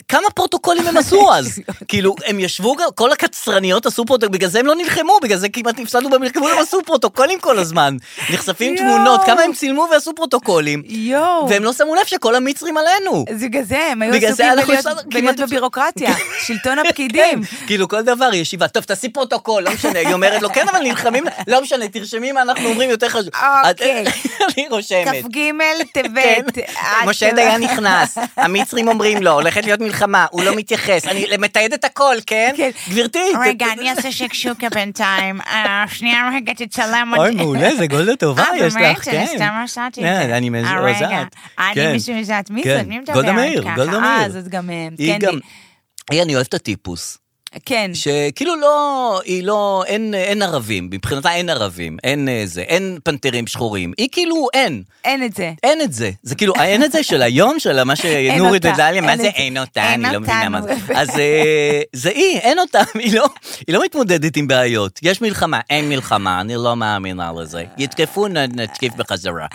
B: כמה פרוטוקולים הם עשו
C: (laughs)
B: אז?
C: אוקיי.
B: כאילו, הם ישבו, גם- כל הקצרניות עשו פרוטוקולים, בגלל זה הם לא נלחמו, בגלל זה כמעט נפסדנו במלחמות, הם עשו פרוטוקולים כל הזמן. נחשפים
C: יואו.
B: תמונות, כמה הם צילמו ועשו פרוטוקולים.
C: יואו.
B: והם לא שמו לב שכל המצרים עלינו.
C: אז בגלל זה, הם היו
B: בגלל זה
C: עסוקים
B: אנחנו
C: בלהיות-
B: אפשר-
C: בלהיות
B: כמעט-
C: בבירוקרטיה,
B: (laughs) כן.
C: שלטון הפקידים.
B: כאילו כל דבר, ישיבה, טוב, תעשי פרוטוקול, לא משנה, היא אומרת לו, כן, אבל נלחמים, לא משנה, תרשמי מה אנחנו אומרים יותר חשוב.
C: אוקיי.
B: את- (laughs) אני רושמת.
C: כ"ג
B: (laughs) כן.
C: טבת. אה, עד
B: משה
C: שבע.
B: דיין נכנס, המצרים אומרים לו, הולכת להיות מלחמה, הוא לא מתייחס, אני מתעד את הכל, כן?
C: כן.
B: גברתי. ת-
D: רגע, אני אעשה שקשוקה בינתיים. אה, שנייה רגע, תצלם
B: אוי,
D: אותי.
B: מעולה, זה
C: (laughs)
B: גולדה טובה
D: אה,
B: יש לך,
D: באמת?
B: כן.
D: אני סתם עשיתי את
B: כן,
D: זה.
B: אני
D: אה,
B: מזועזעת.
D: רגע.
B: כן.
D: אני מזועזעת. מי
B: כן.
D: זאת? מי מדברת ככה?
B: גולדה מאיר, גולדה
C: אה,
B: מאיר.
C: אז את גם אה,
B: היא
C: קנדי.
B: גם- היי, אני אוהב את הטיפוס.
C: כן.
B: שכאילו לא, היא לא, אין, אין ערבים, מבחינתה אין ערבים, אין אה, זה, אין פנתרים שחורים, היא כאילו אין,
C: אין את זה.
B: אין את זה, זה כאילו, האין את זה של היום, של מה שנורית
C: אותה,
B: ודליה, מה
C: (laughs) אין
B: זה
C: את זה.
B: אין אותה,
C: אין
B: אני לא מבינה מה זה,
C: אותנו.
B: אז אה, זה היא, אין אותה, (laughs) היא לא, היא לא מתמודדת עם בעיות, יש מלחמה, אין מלחמה, אני לא מאמינה לזה, יתקפו, נ- נתקיף בחזרה.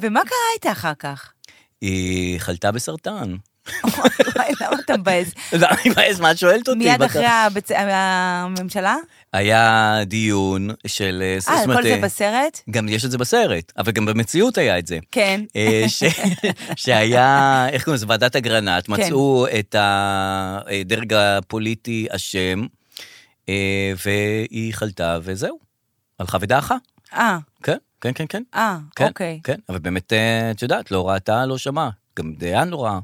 C: ומה קרה איתה אחר
B: (laughs)
C: כך?
B: היא חלתה בסרטן. (laughs)
C: וואי, למה אתה מבאס?
B: לא, אני מבאס, מה את שואלת אותי?
C: מיד
B: בת-
C: אחרי הבצ- הממשלה?
B: היה דיון של... אה,
C: אה,
B: זאת אומרת,
C: כל זה
B: אה,
C: בסרט?
B: גם יש את זה בסרט, אבל גם במציאות היה את זה.
C: כן.
B: אה,
C: (laughs)
B: ש... שהיה, איך קוראים לזה? ועדת אגרנט,
C: כן.
B: מצאו את הדרג הפוליטי אשם, אה, והיא חלתה, וזהו. הלכה ודעכה.
C: אה,
B: כן, כן, כן, כן.
C: אה,
B: כן,
C: אוקיי.
B: כן, אבל באמת, אה, את יודעת, לא ראתה, לא שמעה. גם דיין לא ראה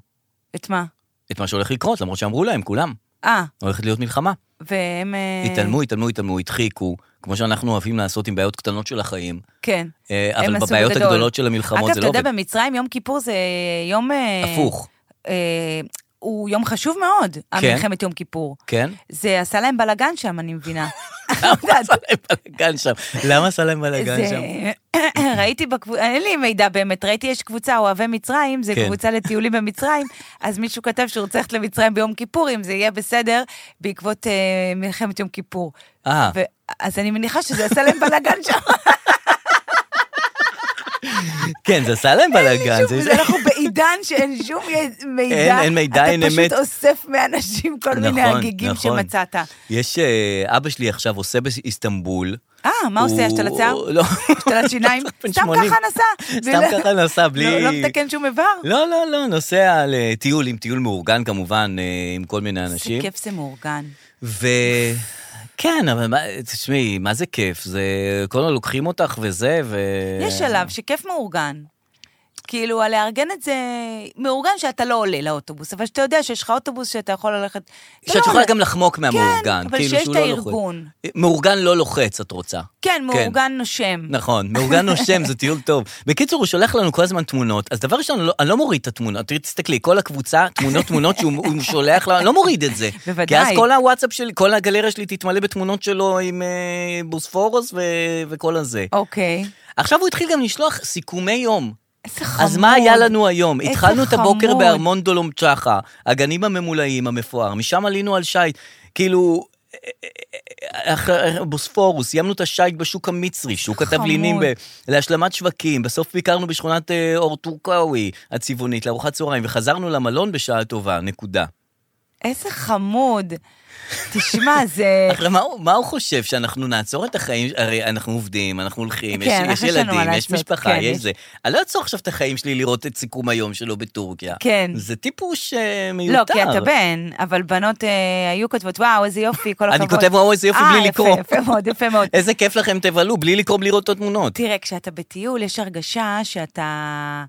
C: את מה?
B: את מה שהולך לקרות, למרות שאמרו להם, כולם,
C: אה,
B: הולכת להיות מלחמה.
C: והם... אה,
B: התעלמו, התעלמו, התעלמו, הדחיקו, כמו שאנחנו אוהבים לעשות עם בעיות קטנות של החיים.
C: כן.
B: אה,
C: הם
B: אבל
C: עשו
B: בבעיות
C: בגדול.
B: הגדולות של המלחמות
C: אגב,
B: זה
C: אתה
B: לא
C: יודע,
B: עובד.
C: במצרים יום כיפור זה יום... אה,
B: הפוך,
C: אה, הוא יום חשוב מאוד, המלחמת יום כיפור. (laughs)
B: כן?
C: זה עשה להם בלאגן שם,
B: (laughs)
C: אני מבינה. לא יודעת,
B: עשה להם בלאגן שם. למה עשה להם בלאגן
C: זה-
B: שם?
C: (coughs) ראיתי בקבוצה, אין לי מידע באמת, ראיתי יש קבוצה אוהבי מצרים, זה
B: כן.
C: קבוצה לטיולים במצרים, אז מישהו כתב שהוא רוצה ללכת למצרים ביום כיפור, אם זה יהיה בסדר, בעקבות אה, מלחמת יום כיפור.
B: אה,
C: ו- אז אני מניחה שזה עשה להם בלאגן
B: (laughs)
C: שם,
B: כן, זה
C: (laughs)
B: עשה להם בלאגן. זה-
C: זה אנחנו בעידן שאין שום מידע.
B: אין- אין מידע, אין
C: אתה פשוט
B: אמת.
C: אוסף מאנשים כל מיני
B: נכון,
C: הגיגים
B: נכון.
C: שמצאת.
B: יש, אה, אבא שלי עכשיו עושה באיסטנבול.
C: אה, מה עושה?
B: הוא-
C: השתלת שיער?
B: לא.
C: השתלת שיניים?
B: (laughs) בן
C: סתם
B: 80.
C: ככה נסע.
B: סתם ככה נסע, בלי...
C: לא- לא מתקן שום איבר.
B: לא, לא, לא, נוסע לטיול, עם טיול מאורגן כמובן, אה, עם כל מיני
C: איזה
B: אנשים.
C: כיף זה מאורגן.
B: ו... כן, אבל מה- תשמעי, מה זה כיף? זה... כל הזמן לוקחים אותך וזה, ו...
C: יש שלב שכיף מאורגן. כאילו, לארגן את זה, מאורגן שאתה לא עולה לאוטובוס, אבל שאתה יודע שיש לך אוטובוס שאתה יכול ללכת... אתה
B: שאת
C: לא
B: יכולה
C: עולה.
B: גם לחמוק מהמאורגן.
C: כן, אבל
B: כאילו
C: שיש
B: שהוא
C: את
B: לא לוחץ.
C: הארגון.
B: מאורגן לא לוחץ, את רוצה.
C: כן, מאורגן נושם.
B: נכון, מאורגן נושם, זה טיול טוב. בקיצור, הוא שולח לנו כל הזמן תמונות, אז דבר ראשון, אני לא- אני לא מוריד את התמונות. תראי, תסתכלי, כל הקבוצה, תמונות, תמונות שהוא הוא שולח לנו, אני לא מוריד את זה.
C: בוודאי.
B: כי אז כל הוואטסאפ שלי, כל הגלריה שלי תתמלא בתמונות שלו עם אה, בוספורוס ו- וכל הזה.
C: אוקיי.
B: עכשיו הוא התחיל גם לשלוח סיכומי יום.
C: איזה חמוד.
B: אז מה היה לנו היום?
C: איזה
B: התחלנו את הבוקר
C: חמוד.
B: בארמון דולום צ'חה, הגנים הממולאים המפואר, משם עלינו על שיט. כאילו, אה, אחרי- בוספורוס, סיימנו את השייט בשוק המצרי, שוק התבלינים ב- להשלמת שווקים, בסוף ביקרנו בשכונת אה, אור טורקאווי הצבעונית לארוחת צהריים, וחזרנו למלון בשעה טובה, נקודה.
C: איזה חמוד. תשמע, זה...
B: (laughs) אחלה, מה הוא- מה הוא חושב, שאנחנו נעצור את החיים? הרי אנחנו עובדים, אנחנו הולכים, יש-
C: כן,
B: יש
C: אנחנו יש לנו מה
B: ילדים, יש
C: לעשות,
B: משפחה,
C: כן,
B: יש
C: יש-
B: זה. אני לא אעצור עכשיו את החיים שלי לראות את סיכום היום שלו בטורקיה.
C: כן.
B: זה טיפוש אה, מיותר.
C: לא, כי אתה בן, אבל בנות אה, היו כותבות, וואו, איזה יופי, כל הכבוד.
B: אני כותב, "וואו, איזה יופי", בלי לקרוא.
C: אה, יפה, יפה מאוד, יפה
B: (laughs)
C: מאוד.
B: איזה כיף לכם, תבלו, בלי לקרוא, בלי לראות את התמונות.
C: תראה, כשאתה בטיול, יש הרגשה שאתה...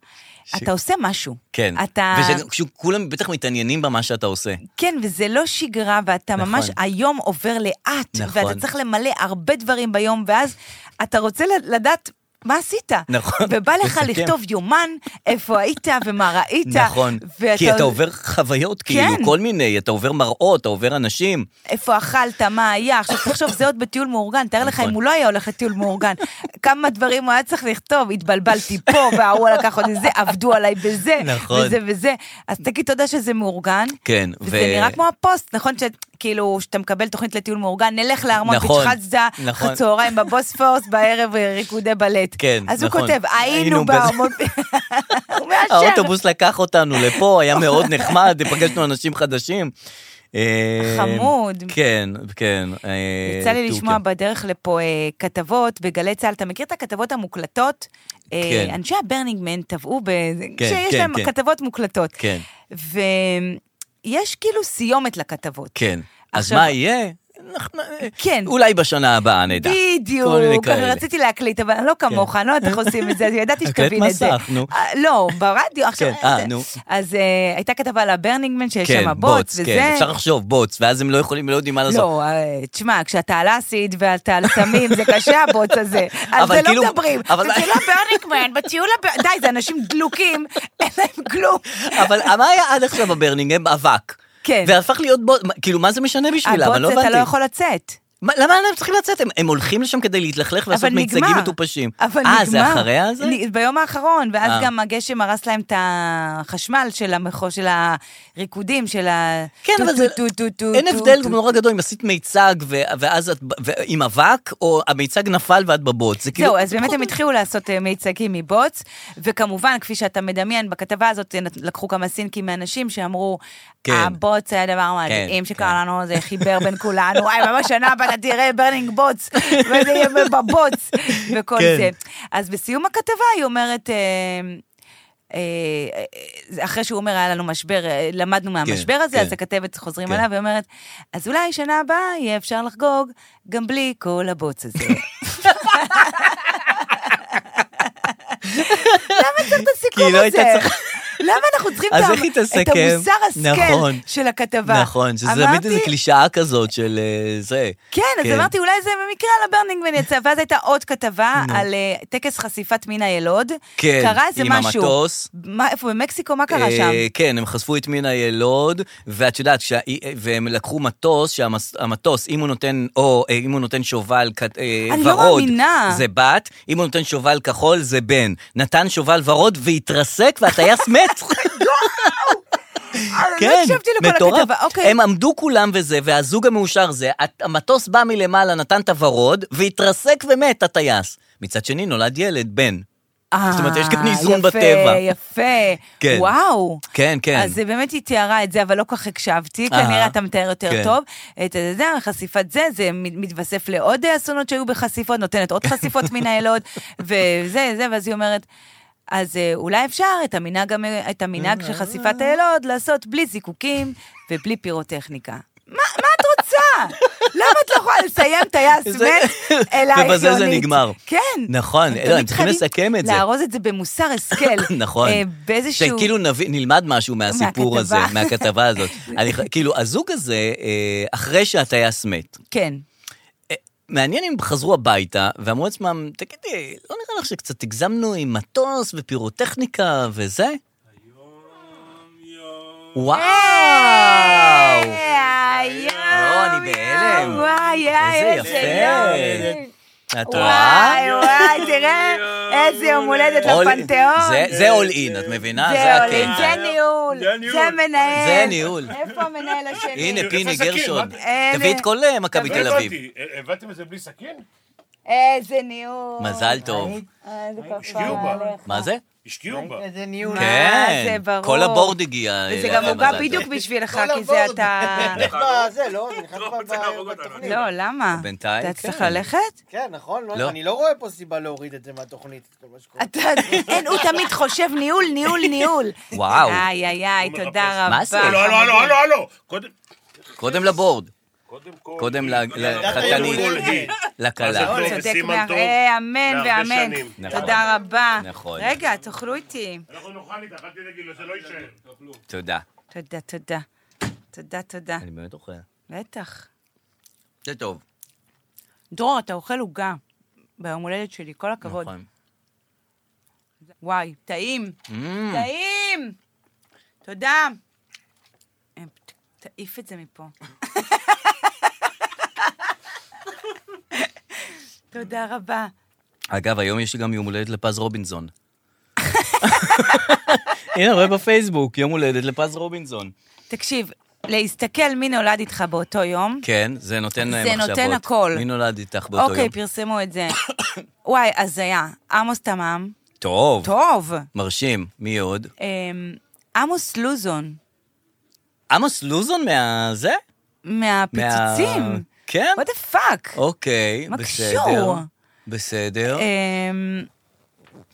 C: אתה עושה משהו.
B: כן.
C: אתה...
B: וכשכולם בטח מתעניינים במה שאתה עושה.
C: כן, וזה לא שגרה, ואתה
B: נכון.
C: ממש, היום עובר לאט,
B: נכון.
C: ואתה צריך למלא הרבה דברים ביום, ואז אתה רוצה ל- לדעת... מה עשית?
B: נכון,
C: ובא לך
B: לסכם.
C: לכתוב יומן, איפה היית ומה ראית.
B: נכון.
C: ואתה-
B: כי אתה עובר חוויות, כאילו,
C: כן.
B: כל מיני, אתה עובר מראות, אתה עובר אנשים.
C: איפה אכלת, מה היה. עכשיו תחשוב, זה עוד בטיול מאורגן, תאר לך
B: נכון.
C: אם הוא לא היה הולך לטיול מאורגן. כמה דברים הוא היה צריך לכתוב, התבלבלתי פה, וההוא לקח עוד איזה, עבדו עליי בזה,
B: נכון.
C: וזה וזה. אז תגיד תודה שזה מאורגן.
B: כן,
C: וזה נראה כמו הפוסט, נכון? שכאילו, שאתה מקבל תוכנית לטיול מאורגן, נלך לארמון
B: נכון,
C: פצ'חצדה,
B: נכון.
C: נכון. צהריים בבוספורס, בערב אה, ריקודי בלט.
B: כן,
C: אז הוא
B: נכון.
C: כותב,
B: היינו
C: היינו בארמון... (laughs) הוא מאשר.
B: האוטובוס לקח אותנו לפה, היה מאוד נחמד, פגשנו אנשים חדשים. אה,
C: חמוד.
B: כן, כן. אה,
C: יצא לי לשמוע
B: טורקיה.
C: בדרך לפה אה, כתבות בגלי צה"ל, אתה מכיר את הכתבות המוקלטות? אה,
B: כן.
C: אנשי הברנינגמן טבעו ב...
B: כן,
C: כן, שיש
B: כן,
C: להם
B: כן.
C: כתבות מוקלטות.
B: כן.
C: ויש כאילו סיומת לכתבות.
B: כן. אז
C: עכשיו-
B: מה יהיה? אנחנו-
C: כן.
B: אולי בשנה הבאה נדע. כל מיני
C: בדיוק,
B: כאלה. כן.
C: רציתי להקליט, אבל אני לא כמוך, אני לא יודעת איך עושים את זה, אז ידעתי
B: הקלט
C: שתבין את זה.
B: מסך, נו.
C: אה, לא, ברדיו, עכשיו...
B: כן, אה,
C: זה-
B: נו.
C: אז אה, הייתה כתבה על הברנינגמן, שיש
B: כן,
C: שם בוץ וזה.
B: כן, אפשר לחשוב, בוץ, ואז הם לא יכולים, לא יודעים מה לעשות.
C: לא, אה, תשמע, כשאתה על אסיד ואתה על סמים, זה קשה הבוץ הזה. על
B: אבל
C: זה
B: כאילו-
C: לא מדברים.
B: אבל-
C: זה לא ברנינגמן, בטיול הב... די, זה אנשים דלוקים, (laughs) אין להם כלום.
B: אבל מה היה עד עכשיו בברנינגהם? אבק.
C: כן.
B: והפך להיות בוץ, מה- כאילו, מה זה משנה בשבילם? אני לא
C: הבוץ
B: הבנתי.
C: אתה לא יכול לצאת.
B: מה- למה הם צריכים לצאת? הם- הם הולכים לשם כדי להתלכלך
C: אבל
B: ולעשות
C: נגמר.
B: מיצגים מטופשים.
C: אבל נגמר.
B: אה, זה אחרי הזה?
C: נ- ביום האחרון,
B: אה.
C: ואז גם הגשם הרס להם את החשמל של המחו... של הריקודים, של ה...
B: כן,
C: טו-
B: אבל
C: טו-
B: זה...
C: טו- טו- טו-
B: אין
C: טו-
B: הבדל
C: טו-
B: נורא גדול אם עשית מיצג ו- ואז את... ב- ו- עם אבק, או המיצג נפל ואת בבוץ. זה כאילו...
C: זהו, אז באמת
B: פחות-
C: הם התחילו לעשות אה, מיצגים מבוץ, וכמובן, כפי שאתה מדמיין, בכתבה הזאת אה, נת- לקחו כמה סינקים מאנשים שאמרו,
B: כן.
C: הבוץ היה דבר מדהים שקרה לנו, זה חיבר בין כולנו, וואי, ממש שנה הבאה אתה תראה ברנינג בוץ, וזה יהיה בבוץ, וכל
B: כן.
C: זה. אז בסיום הכתבה היא אומרת... אה, אה, אה, אה, אחרי שהוא אומר, היה לנו משבר, אה, למדנו מהמשבר הזה,
B: כן.
C: אז הכתבת חוזרים
B: כן.
C: עליו ואומרת, אז אולי שנה הבאה יהיה אפשר לחגוג גם בלי כל הבוץ הזה. למה צריך את הסיכום
B: כי
C: הזה?
B: לא הייתה צריכה-
C: למה אנחנו צריכים
B: אז
C: את ה-
B: איך היא
C: את
B: תסכם?
C: המוסר השכל
B: נכון.
C: של הכתבה?
B: נכון, שזה תמיד
C: אמרתי,
B: איזו קלישאה כזאת של אה, זה.
C: כן, אז אמרתי, אולי זה במקרה על הברנינגמן יצא, ואז הייתה עוד כתבה על אה, טקס חשיפת מין הילוד.
B: כן,
C: קרה איזה
B: עם
C: משהו.
B: המטוס.
C: מה- איפה, במקסיקו? מה קרה שם?
B: אה, כן, הם חשפו את מינה ילוד, ואת יודעת, שה- אה, והם לקחו מטוס, שהמטוס, אם הוא נותן, או אה, אם הוא נותן שובל כת- אה,
C: אני לא
B: ורוד,
C: מאמינה.
B: זה בת, אם הוא נותן שובל כחול, זה בן. נתן שובל ורוד והתרסק, והטייס (laughs) מת.
C: אני לא הקשבתי לכל הכתבה, אוקיי.
B: כן, הם עמדו כולם וזה, והזוג המאושר זה, הת- המטוס בא מלמעלה, נתן את הוורוד, והתרסק ומת הטייס. מצד שני, נולד ילד, בן.
C: אה,
B: זאת אומרת, יש כאן איזון
C: יפה,
B: בטבע.
C: יפה,
B: כן.
C: וואו.
B: כן, כן.
C: אז זה באמת היא תיארה את זה, אבל לא כל כך הקשבתי,
B: אהה.
C: כנראה אתה מתאר יותר
B: כן.
C: טוב. את זה, זה, חשיפת זה, זה מת- מתווסף לעוד אסונות שהיו בחשיפות, נותנת עוד
B: (laughs)
C: חשיפות מן האלוד, וזה, זה, ואז היא אומרת... אז אה, אולי אפשר את המנהג, המ- את המנהג של חשיפת האלוד לעשות בלי זיקוקים ובלי פירוטכניקה. מה, מה את רוצה? למה את לא יכולה לסיים טייס
B: זה-
C: מת אלא הגיונית?
B: ובזה זה נגמר.
C: כן.
B: נכון,
C: הם
B: לא,
C: תמיד
B: הם צריכים
C: חייבים
B: לסכם את זה.
C: לארוז את זה במוסר השכל.
B: (laughs) נכון.
C: אה, באיזשהו...
B: שכאילו נביא, נלמד משהו מהסיפור הזה,
C: מהכתבה.
B: מהכתבה
C: (laughs)
B: הזאת. אני, ח- כאילו, הזוג הזה, אה, אחרי שהטייס מת,
C: כן.
B: מעניין אם חזרו הביתה ואמרו לעצמם, תגידי, לא נראה לך שקצת הגזמנו עם מטוס ופירוטכניקה וזה?
C: אה,
B: וואו!
C: איי,
B: לא, אני בהלם.
C: וואי, איי,
B: איזה יפה. את רואה?
C: וואי, וואי,
E: (laughs)
C: תראה איזה יום הולדת
B: All-
C: לפנתיאון.
B: זה- זה אול אין, את מבינה?
C: זה
B: זה
C: עולים,
B: הקטע.
C: זה ניהול,
E: זה ניהול.
C: זה מנהל.
B: זה ניהול.
C: איפה המנהל השני?
B: הנה, פיני
E: איפה הסכין?
B: גרשון.
C: מה-
B: תביא את כל אה, מכבי
E: לא
B: תל אביב.
E: הבנתי, הבאתם את זה בלי סכין?
C: איזה ניהול. אה,
B: מזל
E: אה,
B: טוב.
C: איזה
E: השקיעו
C: כפרה
E: בה.
C: עליך.
B: מה זה?
E: השקיעו בה.
F: איזה ניהול.
C: אה, זה
B: כן,
C: ברור.
B: כל הבורד הגיע.
C: וזה
B: אה,
C: גם הוגה
B: מזל טוב.
C: בדיוק בשבילך,
F: כל
C: כי זה
B: (laughs)
F: הבורד.
C: אתה...
F: זה נכנס בזה, לא? זה נכנס
E: לא,
F: ב-
E: צריך להרוג
F: ב-
E: אותנו.
F: בתוכנית.
C: לא, למה?
B: בינתיים,
C: אתה צריך
B: כן.
C: ללכת?
F: כן, נכון? לא-
B: לא.
F: אני לא רואה פה סיבה להוריד את זה מהתוכנית, את כל מה שקורה.
C: אתה... אין, הוא תמיד חושב ניהול, ניהול, ניהול.
B: וואו.
C: איי, איי, איי,
E: הוא "לא,
C: תודה
E: מחפש.
C: רבה.
B: מה זה?
E: הלו, הלו, הלו, הלו, הלו. קודם-
B: קודם לבורד,
E: קודם כל.
B: קודם ל- לחתנית,
E: לחתנית.
B: לכלה.
E: טוב,
C: צודק
E: לא, וסימן
C: מאה-
E: טוב
C: אה, אמן
E: להרבה
C: ואמן.
E: שנים.
B: נכון.
C: תודה רבה.
B: נכון.
C: רגע, תאכלו איתי.
E: אנחנו נאכל איתך, אל תדאגי לו, זה לא יישאר.
B: תודה.
C: תודה, תודה. תודה, תודה.
B: אני באמת אוכל.
C: בטח.
B: זה טוב.
C: דרור, אתה אוכל עוגה ביום הולדת שלי, כל הכבוד.
B: נכון.
C: וואי, טעים.
B: אמ,
C: טעים! תודה. אה, ת- תעיף את זה מפה. תודה רבה.
B: אגב, היום יש לי גם יום הולדת לפז
C: (laughs)
B: רובינזון. הנה, רואה בפייסבוק, יום הולדת לפז רובינזון.
C: תקשיב, להסתכל מי נולד איתך באותו יום,
B: כן, זה נותן
C: זה
B: להם מחשבות.
C: נותן הכל.
B: מי נולד איתך באותו
C: אוקיי,
B: יום?
C: פרסמו את זה. וואי, הזיה. עמוס תמם,
B: טוב,
C: טוב.
B: מרשים. מי עוד?
C: אמ, עמוס לוזון,
B: עמוס לוזון מהזה?
C: מהפיצוצים.
B: כן?
C: what the fuck?
B: אוקיי,
C: מה
B: בסדר.
C: קשור?
B: בסדר.
C: אמ,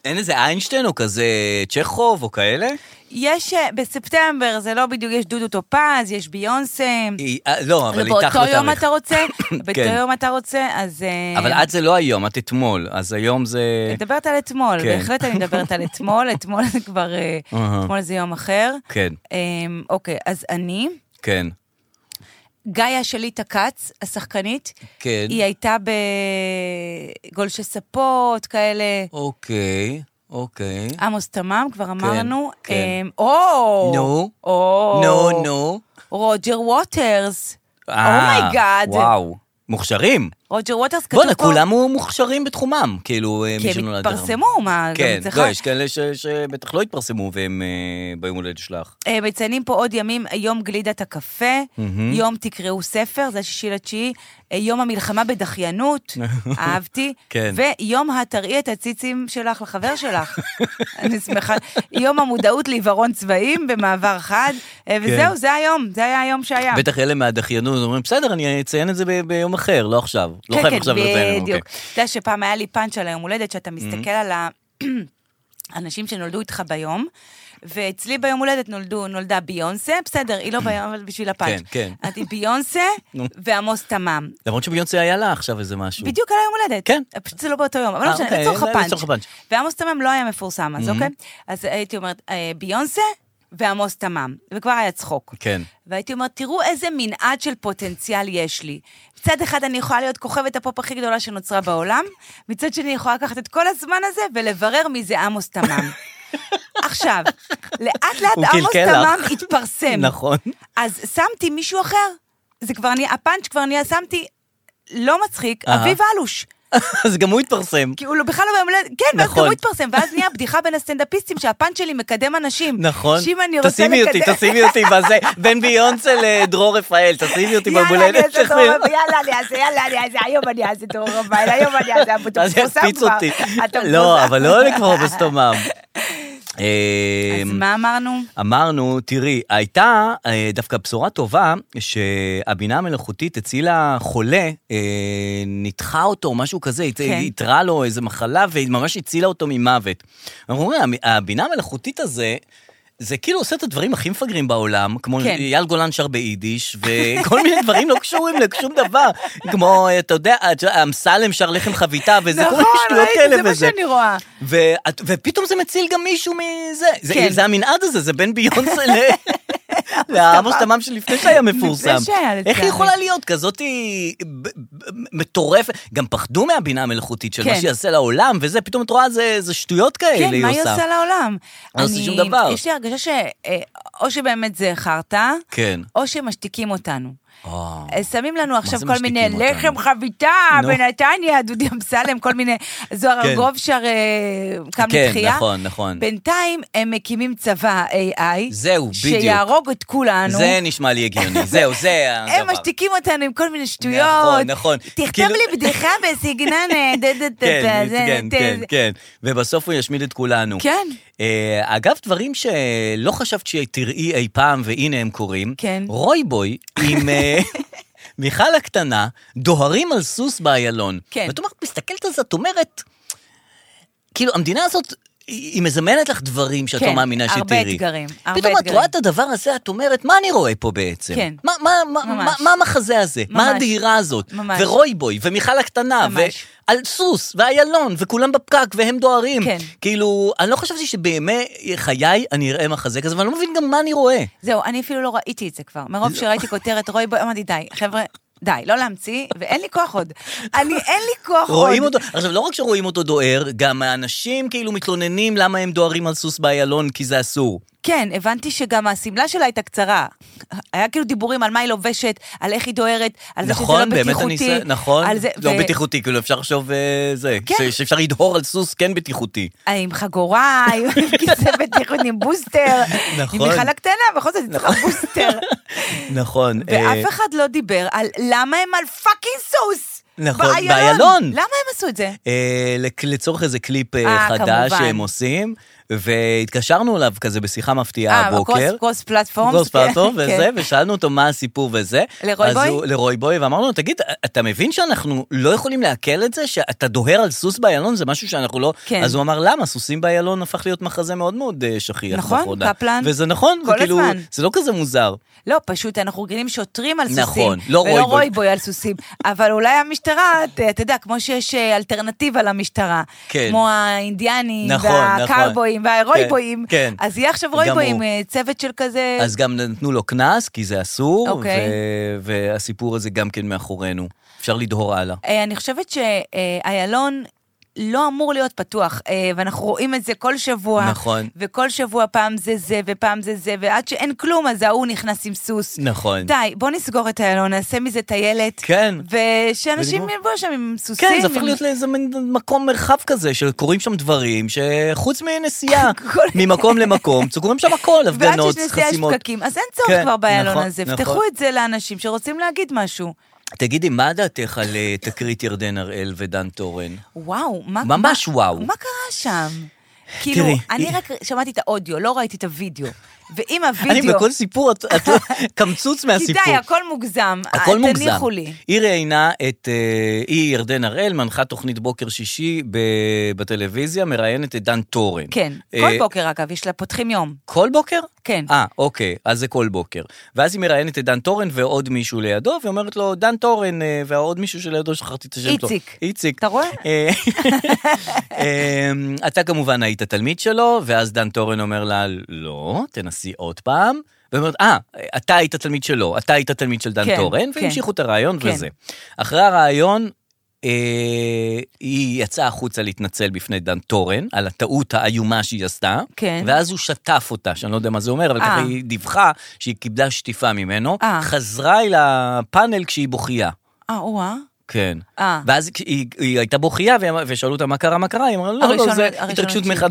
B: אין איזה איינשטיין או כזה צ'כוב או כאלה?
C: יש, אה, בספטמבר זה לא בדיוק, יש דודו טופז, יש ביונסה.
B: היא- אה, לא, אבל איתך
C: ובאותו
B: לא
C: יום
B: תאריך.
C: אתה רוצה, באותו
B: (coughs) כן.
C: יום אתה רוצה, אז... אה,
B: אבל את זה לא היום, את אתמול. אז היום זה...
C: אני מדברת על אתמול,
B: כן.
C: בהחלט אני
B: (laughs)
C: מדברת על אתמול, אתמול זה כבר, אה,
B: אהה.
C: אתמול זה יום אחר.
B: כן,
C: אמ, אוקיי, אז אני,
B: כן.
C: גאיה שליטה כץ, השחקנית,
B: כן.
C: היא הייתה בגולשי ספות, כאלה,
B: אוקיי, אוקיי.
C: עמוס תמם, כבר אמרנו.
B: כן.
C: אמ, או!
B: נו.
C: או! Oh
B: נו, נו.
C: רוג'ר ווטרס.
B: אה,
C: אומייגאד.
B: וואו. מוכשרים.
C: רוג'ר ווטרס כתוב
B: בואנה,
C: פה.
B: כולם מוכשרים בתחומם, כאילו, אה,
C: כי
B: מי
C: הם
B: שנולד היום.
C: התפרסמו, מה, גם
B: כן,
C: אצלך?
B: לא, יש כאלה ש- שבטח לא התפרסמו והם אה, ביום הולדת שלך.
C: אה, מציינים פה עוד ימים, יום גלידת הקפה, יום תקראו ספר, זה השישי לתשיעי, אה, יום המלחמה
B: (laughs)
C: בדחיינות, אהבתי,
B: כן.
C: ויום התראי את הציצים שלך לחבר שלך, (laughs) אני שמחה, יום המודעות לעיוורון צבעים במעבר חד, אה,
B: כן.
C: וזהו, זה היום, זה היה היום שהיה.
B: בטח אלה מהדחיינות אומרים, בסדר, אני אציין את זה ב- ביום אחר, לא עכשיו. לא
C: כן,
B: חייב
C: כן,
B: עכשיו לציין. אוקיי. Mm-hmm.
C: בדיוק. אתה יודע שפעם היה לי פאנץ' על היום הולדת, שאתה מסתכל על ה... (clears throat) אנשים שנולדו איתך ביום, ואצלי ביום הולדת נולדו, נולדה ביונסה, בסדר, היא לא ביום, אבל בשביל הפאנץ'.
B: כן, כן.
C: את היא ביונסה
B: נו.
C: ועמוס תמם.
B: למרות שביונסה היה לה עכשיו איזה משהו.
C: בדיוק על היום הולדת.
B: כן.
C: פשוט זה לא באותו יום, אבל לא
B: אה,
C: משנה,
B: אוקיי,
C: לצורך
B: זה-
C: הפאנץ'.
B: לצורך הפאנץ'. Mhm.
C: ועמוס תמם לא היה מפורסם אז, אוקיי? אז הייתי אומרת, אה, ביונסה ועמוס תמם, וכבר היה צחוק.
B: כן.
C: והייתי אומרת, תראו איזה מנעד של פוטנציאל יש לי. מצד אחד אני יכולה להיות כוכבת הפופ הכי גדולה שנוצרה בעולם, מצד שני אני יכולה לקחת את כל הזמן הזה ולברר מי זה עמוס
B: (laughs)
C: תמם. עכשיו, לאט
B: הוא
C: לאט עמוס
B: קלקל
C: תמם
B: לך.
C: התפרסם.
B: נכון.
C: אז שמתי מישהו אחר, זה כבר נהיה, הפאנץ' כבר נהיה, שמתי, לא מצחיק,
B: אהה.
C: אביב אלוש.
B: (laughs) אז גם הוא התפרסם.
C: כי הוא לא- בכלל לא ביום הולדת, כן, ואז
B: נכון.
C: גם הוא התפרסם, ואז נהיה בדיחה בין הסטנדאפיסטים שהפאנץ' שלי מקדם אנשים.
B: נכון.
C: שאם אני רוצה
B: תשימי אותי, תשימי אותי בזה, בין ביונסה לדרור רפאל, תשימי אותי
C: יאללה, אני
B: בבולדת
C: אעשה
B: שלך.
C: דור הבא, יאללה, אני אעשה, יאללה, אני אעשה, היום אני אעשה דור רביל, היום אני אעשה, אבל אתה
B: אז
C: מפורסם
B: יקפיץ
C: כבר.
B: אותי.
C: אתה
B: לא,
C: מפורסם.
B: אבל לא לקרוא בסתומם.
C: (laughs) אז
B: אמ,
C: מה אמרנו?
B: אמרנו, תראי, הייתה אה, דווקא בשורה טובה שהבינה המלאכותית הצילה חולה, אה, ניתחה אותו, משהו כזה, הת-
C: כן.
B: איתרה לו איזה מחלה, והיא ממש הצילה אותו ממוות. אנחנו אומרים, המ- הבינה המלאכותית הזה... זה כאילו עושה את הדברים הכי מפגרים בעולם, כמו
C: כן.
B: אייל גולן שר ביידיש, וכל מיני דברים לא קשורים לשום דבר, כמו, אה, אתה יודע, אמסלם שר לחם חביתה, וזה כל מיני
C: נכון,
B: שטויות
C: ראיתי,
B: כאלה
C: זה מה
B: וזה.
C: שאני רואה.
B: ואת, ופתאום זה מציל גם מישהו מזה. זה,
C: כן.
B: זה המנעד הזה, זה בין ביונסה ל...
C: (laughs)
B: לעמוס תמם שלפני שהיה מפורסם.
C: שהיה,
B: איך
C: לצערי.
B: היא יכולה להיות כזאת היא ב- ב- מטורפת? גם פחדו מהבינה המלאכותית של מה
C: כן.
B: שיעשה לעולם, וזה, פתאום את רואה, זה, זה שטויות כאלה
C: כן,
B: היא
C: מה
B: עושה.
C: היא עושה לעולם?
B: לא עושה
C: אני-
B: שום דבר.
C: יש לי הרגשה אה, או שבאמת זה חרטא,
B: כן.
C: או שמשתיקים אותנו.
B: אה.
C: אה, שמים לנו עכשיו
B: זה
C: כל מיני
B: משתיקים אותנו?
C: לחם חביתה,
B: נו.
C: בנתניה, דודי אמסלם, כל
B: (laughs)
C: מיני, זוהר
B: כן.
C: ארגוב שר אה, קם
B: כן,
C: לתחייה.
B: נכון, נכון.
C: בינתיים הם מקימים צבא AI.
B: זהו, בדיוק.
C: שיהרוג את כולנו.
B: זה נשמע לי הגיוני, זהו,
C: (laughs)
B: זה הדבר.
C: הם משתיקים אותנו עם כל מיני שטויות.
B: נכון, נכון.
C: תכתוב
B: כאילו-
C: לי בדיחה בסגנון... אה, דה, דה,
B: (laughs)
C: דה,
B: כן,
C: דה,
B: כן,
C: דה,
B: כן,
C: דה.
B: כן. ובסוף הוא ישמיד את כולנו.
C: כן.
B: אה, אגב, דברים שלא חשבת שתראי אי פעם, והנה הם קורים.
C: כן.
B: רויבוי עם אה, מיכל הקטנה, דוהרים על סוס באיילון.
C: כן.
B: ואת אומרת, מסתכלת על זה, את אומרת, כאילו, המדינה הזאת... היא היא מזמנת לך דברים שאת
C: כן,
B: לא מאמינה שתראי.
C: הרבה אתגרים, הרבה
B: פתאום את
C: אתגרים.
B: רואה את הדבר הזה, את אומרת, מה אני רואה פה בעצם?
C: כן.
B: מה, מה, מה,
C: ממש.
B: מה, מה המחזה הזה? מה
C: ממש.
B: הדהירה הזאת?
C: ממש.
B: ורויבוי, ומיכל הקטנה,
C: ממש.
B: ועל סוס, ואיילון, וכולם בפקק, והם דוהרים.
C: כן.
B: כאילו, אני לא חשבתי שבימי חיי אני אראה מחזה כזה, ואני לא מבין גם מה אני רואה.
C: זהו, אני אפילו לא ראיתי את זה כבר. מרוב שראיתי כותרת רוי בוי, אמרתי, די, חבר'ה, די, לא להמציא, ואין לי כוח עוד. אני, אין לי כוח עוד.
B: רואים אותו, עכשיו לא רק שרואים אותו דוהר, גם האנשים כאילו מתלוננים למה הם דוהרים על סוס באיילון, כי זה אסור.
C: כן, הבנתי שגם השמלה שלה הייתה קצרה. היה כאילו דיבורים על מה היא לובשת, על איך היא דוהרת, על זה שזה לא
B: נכון,
C: בטיחותי.
B: באמת אני... ש- נכון,
C: על זה,
B: לא
C: ו-
B: בטיחותי, כאילו אפשר לחשוב אה, זה,
C: כן.
B: ש- שאפשר לדהור על סוס כן בטיחותי.
C: אה, עם חגורה, (laughs) עם כיסא בטיחות, עם בוסטר.
B: נכון.
C: עם מיכל הקטנה, בכל זאת, היא צריכה
B: (laughs)
C: בוסטר.
B: נכון. אה,
C: ואף אחד לא דיבר על למה הם על פאקינג סוס.
B: נכון,
C: באיילון.
B: באיילון.
C: למה הם עשו את זה?
B: אה, לק- לצורך איזה קליפ אה,
C: אה,
B: חדש
C: כמובן.
B: שהם עושים, והתקשרנו אליו כזה בשיחה
C: אה,
B: מפתיעה הבוקר.
C: קרוס פלטפורמס.
B: גרוס פלטפורם
C: כן,
B: וזה, ושאלנו אותו מה הסיפור וזה.
C: לרוי
B: אז
C: בוי?
B: הוא- לרוי בוי, ואמרנו לו, תגיד, אתה מבין שאנחנו לא יכולים לעכל את זה? שאתה דוהר על סוס באיילון? זה משהו שאנחנו לא...
C: כן.
B: אז הוא אמר, למה? סוסים באיילון הפך להיות מחזה מאוד מאוד אה, שכיח.
C: נכון,
B: לאחרונה."
C: קפלן.
B: וזה נכון,
C: כל
B: כאילו,
C: הזמן.
B: זה לא כזה מוזר.
C: לא, פשוט אנחנו רגילים שוטרים על סוסים.
B: נכון, לא רוי
C: ולא
B: בוי.
C: רוי בוי על סוסים. אבל אולי המשטרה, ת- אתה יודע, כמו שיש אה, אלטרנטיבה למשטרה.
B: כן.
C: כמו האינדיאנים,
B: נכון,
C: והקאובויים,
B: נכון.
C: והרוי בויים.
B: כן, כן.
C: אז יהיה עכשיו
B: גם
C: רוי בויים,
B: הוא.
C: אה, צוות של כזה...
B: אז גם נתנו לו קנס, כי זה אסור,
C: אה. אוקיי.
B: ו- והסיפור הזה גם כן מאחורינו. אפשר לדהור הלאה.
C: אה, אני חושבת שאיילון... לא אמור להיות פתוח, אה, ואנחנו רואים את זה כל שבוע.
B: נכון.
C: וכל שבוע פעם זה זה, ופעם זה זה, ועד שאין כלום, אז ההוא נכנס עם סוס.
B: נכון.
C: די, בוא נסגור את איילון, נעשה מזה טיילת.
B: כן.
C: ושאנשים
B: ונגמור.
C: יבואו שם עם סוסים.
B: כן, זה הפך
C: עם-
B: להיות לאיזה מין מקום מרחב כזה, שקורים שם דברים, שחוץ מנסיעה,
C: (laughs) כל-
B: ממקום למקום, זה קורים שם הכל, הפגנות,
C: ועד שיש
B: חסימות.
C: נסיעה יש פקקים, אז אין צורך
B: כן,
C: כבר באיילון
B: נכון,
C: הזה.
B: נכון.
C: פתחו את זה לאנשים שרוצים להגיד משהו.
B: תגידי, מה דעתך על אה, תקרית ירדן הראל ודן תורן?
C: וואו, מה...
B: ממש
C: מה-
B: וואו.
C: מה קרה שם? כאילו,
B: תראי,
C: אני
B: היא-
C: רק שמעתי את האודיו, לא ראיתי את הוידאו. ואם
B: (laughs) אני
C: הוידאו...
B: בכל סיפור, את את לא-
C: (laughs)
B: קמצוץ
C: כי
B: מהסיפור.
C: די, הכל מוגזם.
B: הכל
C: אה,
B: מוגזם.
C: תניחו לי.
B: היא ראיינה את, אה, היא ירדן הראל, מנחה תוכנית בוקר שישי ב- בטלוויזיה, מראיינת את דן תורן.
C: כן,
B: אה,
C: כל בוקר אגב, יש לה פותחים יום.
B: כל בוקר?
C: כן.
B: אה, אוקיי, אז זה כל בוקר. ואז היא מראיינת את דן תורן ועוד מישהו לידו, ואומרת לו, דן תורן, אה, והעוד מישהו שלידו, שכחתי את השם שלו.
C: איציק.
B: איציק.
C: אתה רואה?
B: אה, (laughs) אה, אתה כמובן היית תלמיד שלו, ואז דן תורן אומר לה, לא, תנסי עוד פעם. ואומרת, אה, אתה היית תלמיד שלו, אתה היית תלמיד של דן
C: כן,
B: תורן,
C: כן.
B: והמשיכו את הרעיון
C: כן.
B: וזה. אחרי הרעיון, אה, היא יצאה החוצה להתנצל בפני דן תורן על הטעות האיומה שהיא עשתה,
C: כן.
B: ואז הוא שטף אותה, שאני לא יודע מה זה אומר, אבל
C: אה.
B: ככה היא דיווחה שהיא קיבלה שטיפה ממנו,
C: אה.
B: חזרה אל הפאנל כשהיא בוכייה.
C: אה, או-אה.
B: כן.
C: אה.
B: ואז כש- היא, היא הייתה בוכייה, והם- ושאלו אותה מה קרה, מה קרה, היא אמרה, לא,
C: הראשון-
B: לא, זה
C: הראשון
B: התרגשות
C: התחיל."
B: מאחד...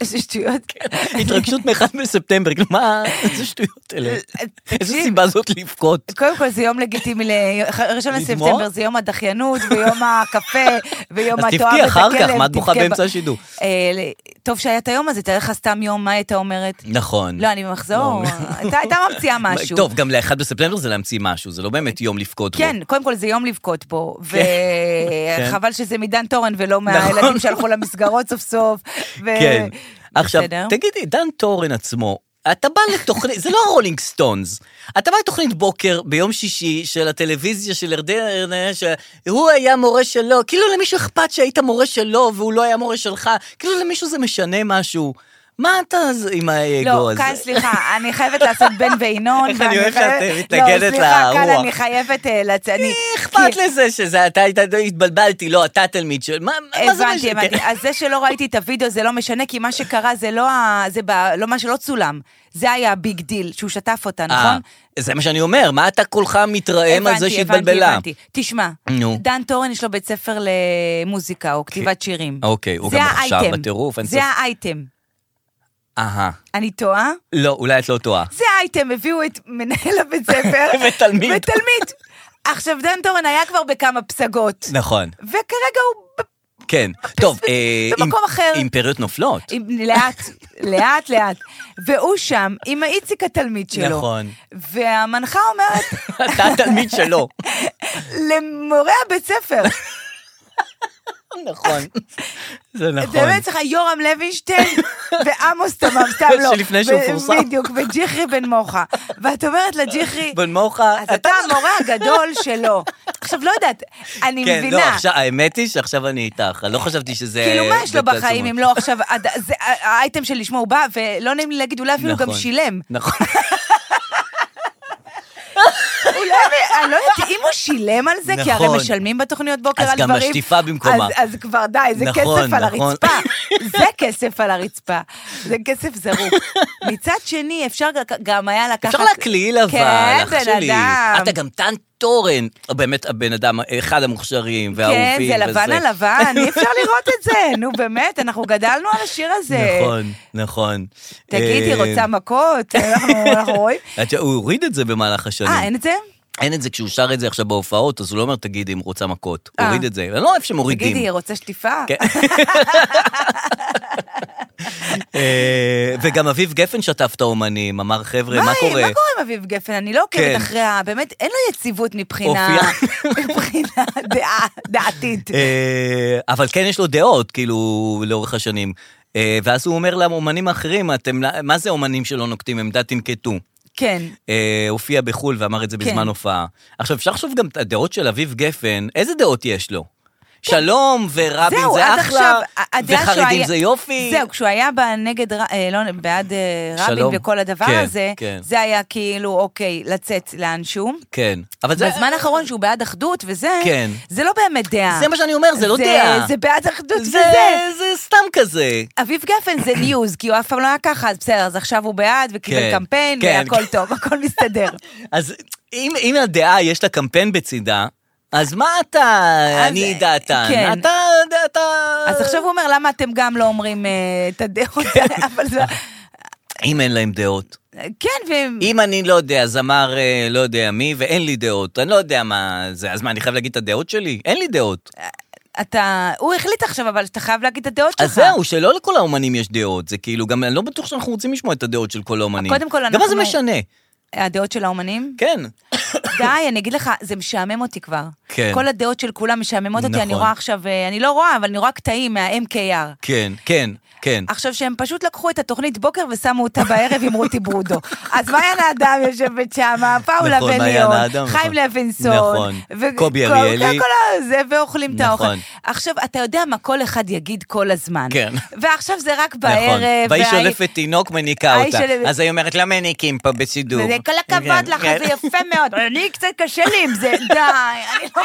C: איזה שטויות.
B: (laughs) כן. התרגשות מאחד בספטמבר, (laughs) כאילו, מה, איזה שטויות אלה? איזה
C: אה, תקשיב.
B: סיבה זאת לבכות?
C: קודם כל זה יום לגיטימי, ל- ח- ראשון
B: לדמוע?
C: לספטמבר זה יום הדחיינות ויום הקפה ויום
B: אז
C: התואר
B: תבכי
C: ואת הכלב.
B: אחר כך, מה את בוכה
C: תבכה ב-
B: באמצע השידור?
C: אה, ל- טוב שהיה את היום הזה, תאר לך סתם יום, מה הייתה אומרת?
B: נכון.
C: לא, אני במחזור, אתה- הייתה ממציאה
B: (laughs)
C: משהו.
B: טוב, גם לאחד בספטמבר זה להמציא משהו, זה לא באמת יום לבכות בו.
C: כן, קודם כל זה יום לבכות בו, (laughs)
B: כן.
C: וחבל שזה מדן תורן ולא
B: נכון.
C: מהילדים שהלכו למסגרות סוף סוף. ו-
B: כן.
C: (laughs)
B: עכשיו,
C: בסדר.
B: תגידי, דן תורן עצמו, אתה בא לתוכנית, זה לא הרולינג סטונס, אתה בא לתוכנית בוקר ביום שישי של הטלוויזיה של ירדן, אה, שהוא היה מורה שלו, כאילו למישהו אכפת שהיית מורה שלו והוא לא היה מורה שלך, כאילו למישהו זה משנה משהו. מה אתה ז- עם האגו
C: לא,
B: הזה?
C: כאן סליחה, אני חייבת לעשות
B: (laughs)
C: בן וינון.
B: אני
C: ואני
B: אוהב
C: חייבת-
B: שאת, אה, מתנגדת
C: לא, סליחה, כאן
B: לרוח.
C: אני חייבת אה, לצאת. אני-
B: אכפת
C: כי-
B: לזה שזה אתה היית, התבלבלתי, לא, אתה תלמיד של... מה מה זה כן.
C: הבנתי, הבנתי. אז זה שלא ראיתי את הוידאו זה לא משנה, כי מה שקרה זה לא ה- זה ב- לא מה שלא צולם. זה היה הביג דיל, שהוא שטף אותה,
B: אה,
C: נכון?
B: זה מה שאני אומר, מה אתה כולך מתרעם על זה
C: הבנתי,
B: שהתבלבלה?
C: הבנתי, הבנתי. תשמע,
B: נו.
C: דן טורן יש לו בית ספר למוזיקה או כתיבת שירים.
B: אוקיי, הוא
C: זה
B: גם מוכשר
C: האייטם.
B: בטירוף, אין
C: זה
B: ספק.
C: האייטם.
B: אהה.
C: אני טועה?
B: לא, אולי את לא טועה.
C: זה האייטם, הביאו את מנהל
B: (laughs)
C: הבית ספר.
B: ותלמיד.
C: ותלמיד. עכשיו, דן טורן היה כבר בכמה פסגות.
B: נכון,
C: וכרגע הוא... ב-
B: כן. טוב, אה,
C: במקום
B: אימ-
C: אחר.
B: אימפריות נופלות.
C: עם, לאט, לאט, לאט. והוא שם עם האיציק התלמיד שלו.
B: נכון.
C: והמנחה אומרת
B: (laughs) אתה התלמיד
C: (laughs)
B: שלו.
C: למורה הבית ספר,
B: נכון. זה נכון.
C: באמת צריך יורם
B: (laughs)
C: לוינשטיין ועמוס תמם, סתם לא.
B: שלפני שהוא
C: ו-
B: מפורסם.
C: בדיוק, וג'יחרי בן מוחה. ואת אומרת לג'יחרי,
B: בן מוחה,
C: אז אתה המורה הגדול שלו. עכשיו, לא יודעת, אני
B: לא- כן,
C: מבינה.
B: לא, עכשיו, האמת היא שעכשיו אני איתך, אני לא חשבתי שזה...
C: כאילו, מה יש לו
B: בתעצומות.
C: בחיים אם לא עכשיו, עד- זה- האייטם שלשמו הוא בא, ולא נעים לי להגיד, אולי אפילו גם
B: נכון.
C: שילם. (laughs)
B: נכון.
C: אולי, אני לא יודעת, אם הוא שילם על זה, כי
B: נכון.
C: הרי משלמים בתוכניות בוקר
B: אז
C: על
B: גם
C: דברים.
B: השטיפה במקומה.
C: אז, אז כבר די, זה
B: נכון,
C: כסף על
B: נכון.
C: הרצפה. זה כסף על הרצפה. זה כסף זרוק. מצד שני, אפשר ג- גם היה לקחת...
B: אפשר להקליל אבל,
C: כן,
B: אח
C: בן
B: שלי.
C: אדם.
B: אתה גם טן תורן, אה, באמת הבן אדם, אחד המוכשרים
C: כן,
B: והאהובים.
C: זה לבן
B: וזה.
C: על לבן,
B: (laughs)
C: אי אפשר לראות את זה. נו באמת, אנחנו גדלנו על השיר הזה.
B: נכון, נכון.
C: אה. תגידי,
B: אה,
C: רוצה מכות? אנחנו אנחנו
B: (laughs)
C: רואים.
B: את- הוא הוריד את זה במהלך השנים.
C: אה, אין את זה?
B: אין את זה כשהוא שר את זה עכשיו בהופעות, אז הוא לא אומר, תגידי אם רוצה מכות. הוא
C: אה.
B: הוריד את זה. אני לא אוהב שמורידים.
C: תגידי, רוצה שטיפה?
B: כן. אה, וגם אביב גפן שטף את האומנים, אמר, חבר'ה, מה
C: מה
B: קורה?
C: קורה עם אביב גפן? אני לא
B: כן.
C: עוקבת אחרי ה... באמת, אין לו יציבות מבחינה...
B: אופייה.
C: (laughs) מבחינה דעה, דעתית.
B: אה, אבל כן יש לו דעות, כאילו, לאורך השנים. אה, ואז הוא אומר לאומנים האחרים, אתם, לא, מה זה אומנים שלא נוקטים עמדה תנקטו?
C: כן.
B: אה, הופיע בחו"ל ואמר את זה
C: כן.
B: בזמן הופעה. עכשיו, אפשר לחשוב גם את הדעות של אביב גפן, איזה דעות יש לו? שלום ורבין
C: כן. זהו,
B: זה
C: עד
B: אחלה,
C: עכשיו, הדעה שהוא
B: וחרדים
C: היה-
B: זה יופי.
C: זהו, כשהוא היה בנגד, ר- אה, לא, בעד אה, רבין
B: שלום.
C: וכל הדבר
B: כן,
C: הזה,
B: כן.
C: זה היה כאילו, אוקיי, לצאת לאנשהו.
B: כן. אבל זה...
C: בזמן האחרון שהוא בעד אחדות וזה,
B: כן.
C: זה לא באמת דעה.
B: זה מה שאני אומר, זה לא דעה.
C: זה בעד
B: זה,
C: אחדות וזה.
B: זה סתם כזה.
C: אביב גפן זה ניוז, כי הוא אף פעם לא היה ככה, אז בסדר, אז עכשיו הוא בעד,
B: כן,
C: וקיבל קמפיין,
B: כן.
C: והכל טוב, הכל מסתדר.
B: אז אם, אם הדעה יש לה קמפיין בצידה, אז מה אתה,
C: אז-
B: אני דעתן,
C: כן.
B: אתה, אתה...
C: אז עכשיו הוא אומר, למה אתם גם לא אומרים אה, את הדעות
B: כן.
C: האלה, אבל זה...
B: אם אין להם דעות.
C: כן, והם...
B: אם אני לא יודע, זמר אה, לא יודע מי, ואין לי דעות, אני לא יודע מה זה, אז מה, אני חייב להגיד את הדעות שלי? אין לי דעות.
C: אה, אתה... הוא החליט עכשיו, אבל אתה חייב להגיד את הדעות שלך.
B: אז זהו, שלא לכל האומנים יש דעות, זה כאילו, גם אני לא בטוח שאנחנו רוצים לשמוע את הדעות של כל האומנים.
C: קודם כל,
B: גם מה זה
C: אנחנו-
B: משנה?
C: הדעות של האומנים?
B: כן.
C: די, אני אגיד לך, זה משעמם אותי כבר.
B: כן.
C: כל הדעות של כולם משעממות אותי, אני
B: נכון.
C: רואה עכשיו, אה, אני לא רואה, אבל אני רואה קטעים מה-MKR.
B: כן, כן, כן.
C: עכשיו שהם פשוט לקחו את התוכנית בוקר ושמו אותה בערב עם רותי (laughs) ברודו. אז מעיין האדם יושבת שם, פאולה
B: נכון, מעיין האדם,
C: בן-ליאון, חיים
B: נכון.
C: לוינסון,
B: נכון.
C: ו-
B: קובי
C: כל-
B: אריאלי.
C: כל ה- זה, ואוכלים את האוכל.
B: נכון.
C: עכשיו, אתה יודע מה כל אחד יגיד כל הזמן.
B: כן.
C: ועכשיו זה רק
B: נכון.
C: בערב.
B: והיא
C: והאי-
B: שולפת תינוק, מניקה
C: ההיא
B: אותה.
C: שולפת-
B: אז היא אומרת, למה מניקים פה בשידור?
C: וזה, כל
B: כן,
C: הכבוד לך,
B: כן.
C: זה יפה מאוד. אני קצת קשה לי עם זה, די, אני לא...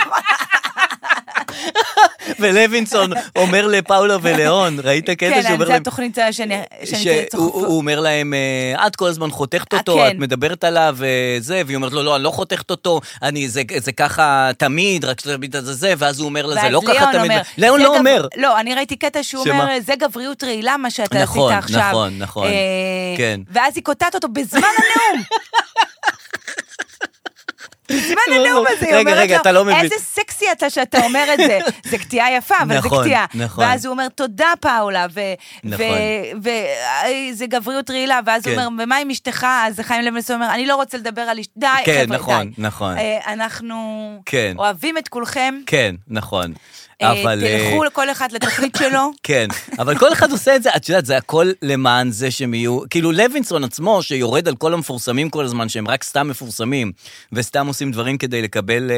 B: ולוינסון אומר לפאולה ולאון, ראית
C: כן,
B: קטע שהוא אומר
C: זה
B: להם...
C: התוכנית אה, שאני שאני
B: שהוא
C: צוחפת.
B: הוא אומר להם, אה, את כל הזמן חותכת אותו,
C: אה,
B: את
C: כן.
B: מדברת עליו אה, זה, והיא אומרת לו, לא, אני לא חותכת אותו, אני, זה- זה ככה תמיד, רק שתמיד זה זה, ואז הוא אומר לה, זה
C: ואז
B: לא ככה
C: ליאון
B: תמיד.
C: אומר,
B: ליאון
C: "זה
B: לא
C: גב-
B: אומר.
C: לא, אני ראיתי קטע שהוא
B: שמה?
C: אומר, זה גבריות רעילה מה שאתה עשית
B: נכון,
C: עכשיו.
B: נכון, נכון.
C: אה,
B: כן.
C: ואז היא קוטעת אותו בזמן הנאום.
B: (laughs)
C: בזמן הנאום הזה, היא
B: רגע,
C: אומרת
B: רגע,
C: לו,
B: אתה לא מבין.
C: איזה סקסי אתה שאתה אומר את
B: (laughs)
C: זה. זה קטיעה יפה, אבל זה
B: נכון,
C: קטיעה.
B: נכון.
C: ואז הוא אומר, תודה פאולה,
B: נכון.
C: וזה גבריות רעילה, ואז הוא
B: כן.
C: אומר, ומה עם אשתך? אז חיים לוינסון אומר, אני לא רוצה לדבר על אשת... די,
B: כן,
C: חבר'ה,
B: נכון,
C: די.
B: נכון.
C: אה, אנחנו
B: כן.
C: אוהבים את כולכם.
B: כן, נכון.
C: אה,
B: אבל... אה,
C: תלכו כל אחד
B: (coughs)
C: לתוכנית שלו.
B: כן, אבל כל אחד עושה את זה, את יודעת, זה הכל למען זה שהם יהיו, כאילו לוינסון עצמו, שיורד על כל המפורסמים כל הזמן, שהם רק סתם מפורסמים, וסתם עושים עושים דברים כדי לקבל אה,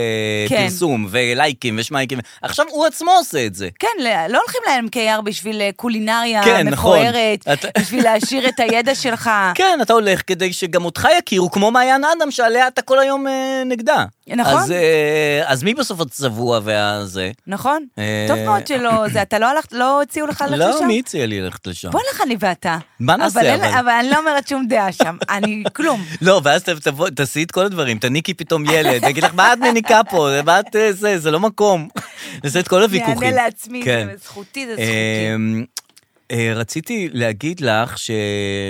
C: כן.
B: פרסום ולייקים ושמייקים. עכשיו הוא עצמו עושה את זה.
C: כן, ל- לא הולכים ל-MKR בשביל אה, קולינריה
B: כן, נכון.
C: מפוארת,
B: את-
C: בשביל להעשיר את
B: (laughs)
C: הידע שלך.
B: כן, אתה הולך כדי שגם אותך יכירו, כמו מעיין אדם, שעליה אתה כל היום אה, נגדה.
C: נכון.
B: אז, אה, אז מי בסוף הצבוע והזה?
C: נכון?
B: אה,
C: טוב מאוד שלא, זה, אתה לא הלכת, לא הוציאו לך ללכת לשם?
B: לא, מי הציע לי ללכת לשם?
C: בוא נלך אני ואתה.
B: מה נעשה,
C: אין-
B: אבל?
C: אבל אני לא אומרת שום דעה
B: (laughs)
C: שם, אני כלום.
B: לא, ואז ת- תבוא- תעשי את כל הדברים, תניקי פתאום ילד, יגיד לך, מה את מניקה פה? מה את אה, זה? זה לא מקום. נעשה את כל הוויכוחים.
C: אני אענה לעצמי,
B: לא כן.
C: זה כאילו. זכותי, זה זכותי.
B: אמ, אה, רציתי להגיד לך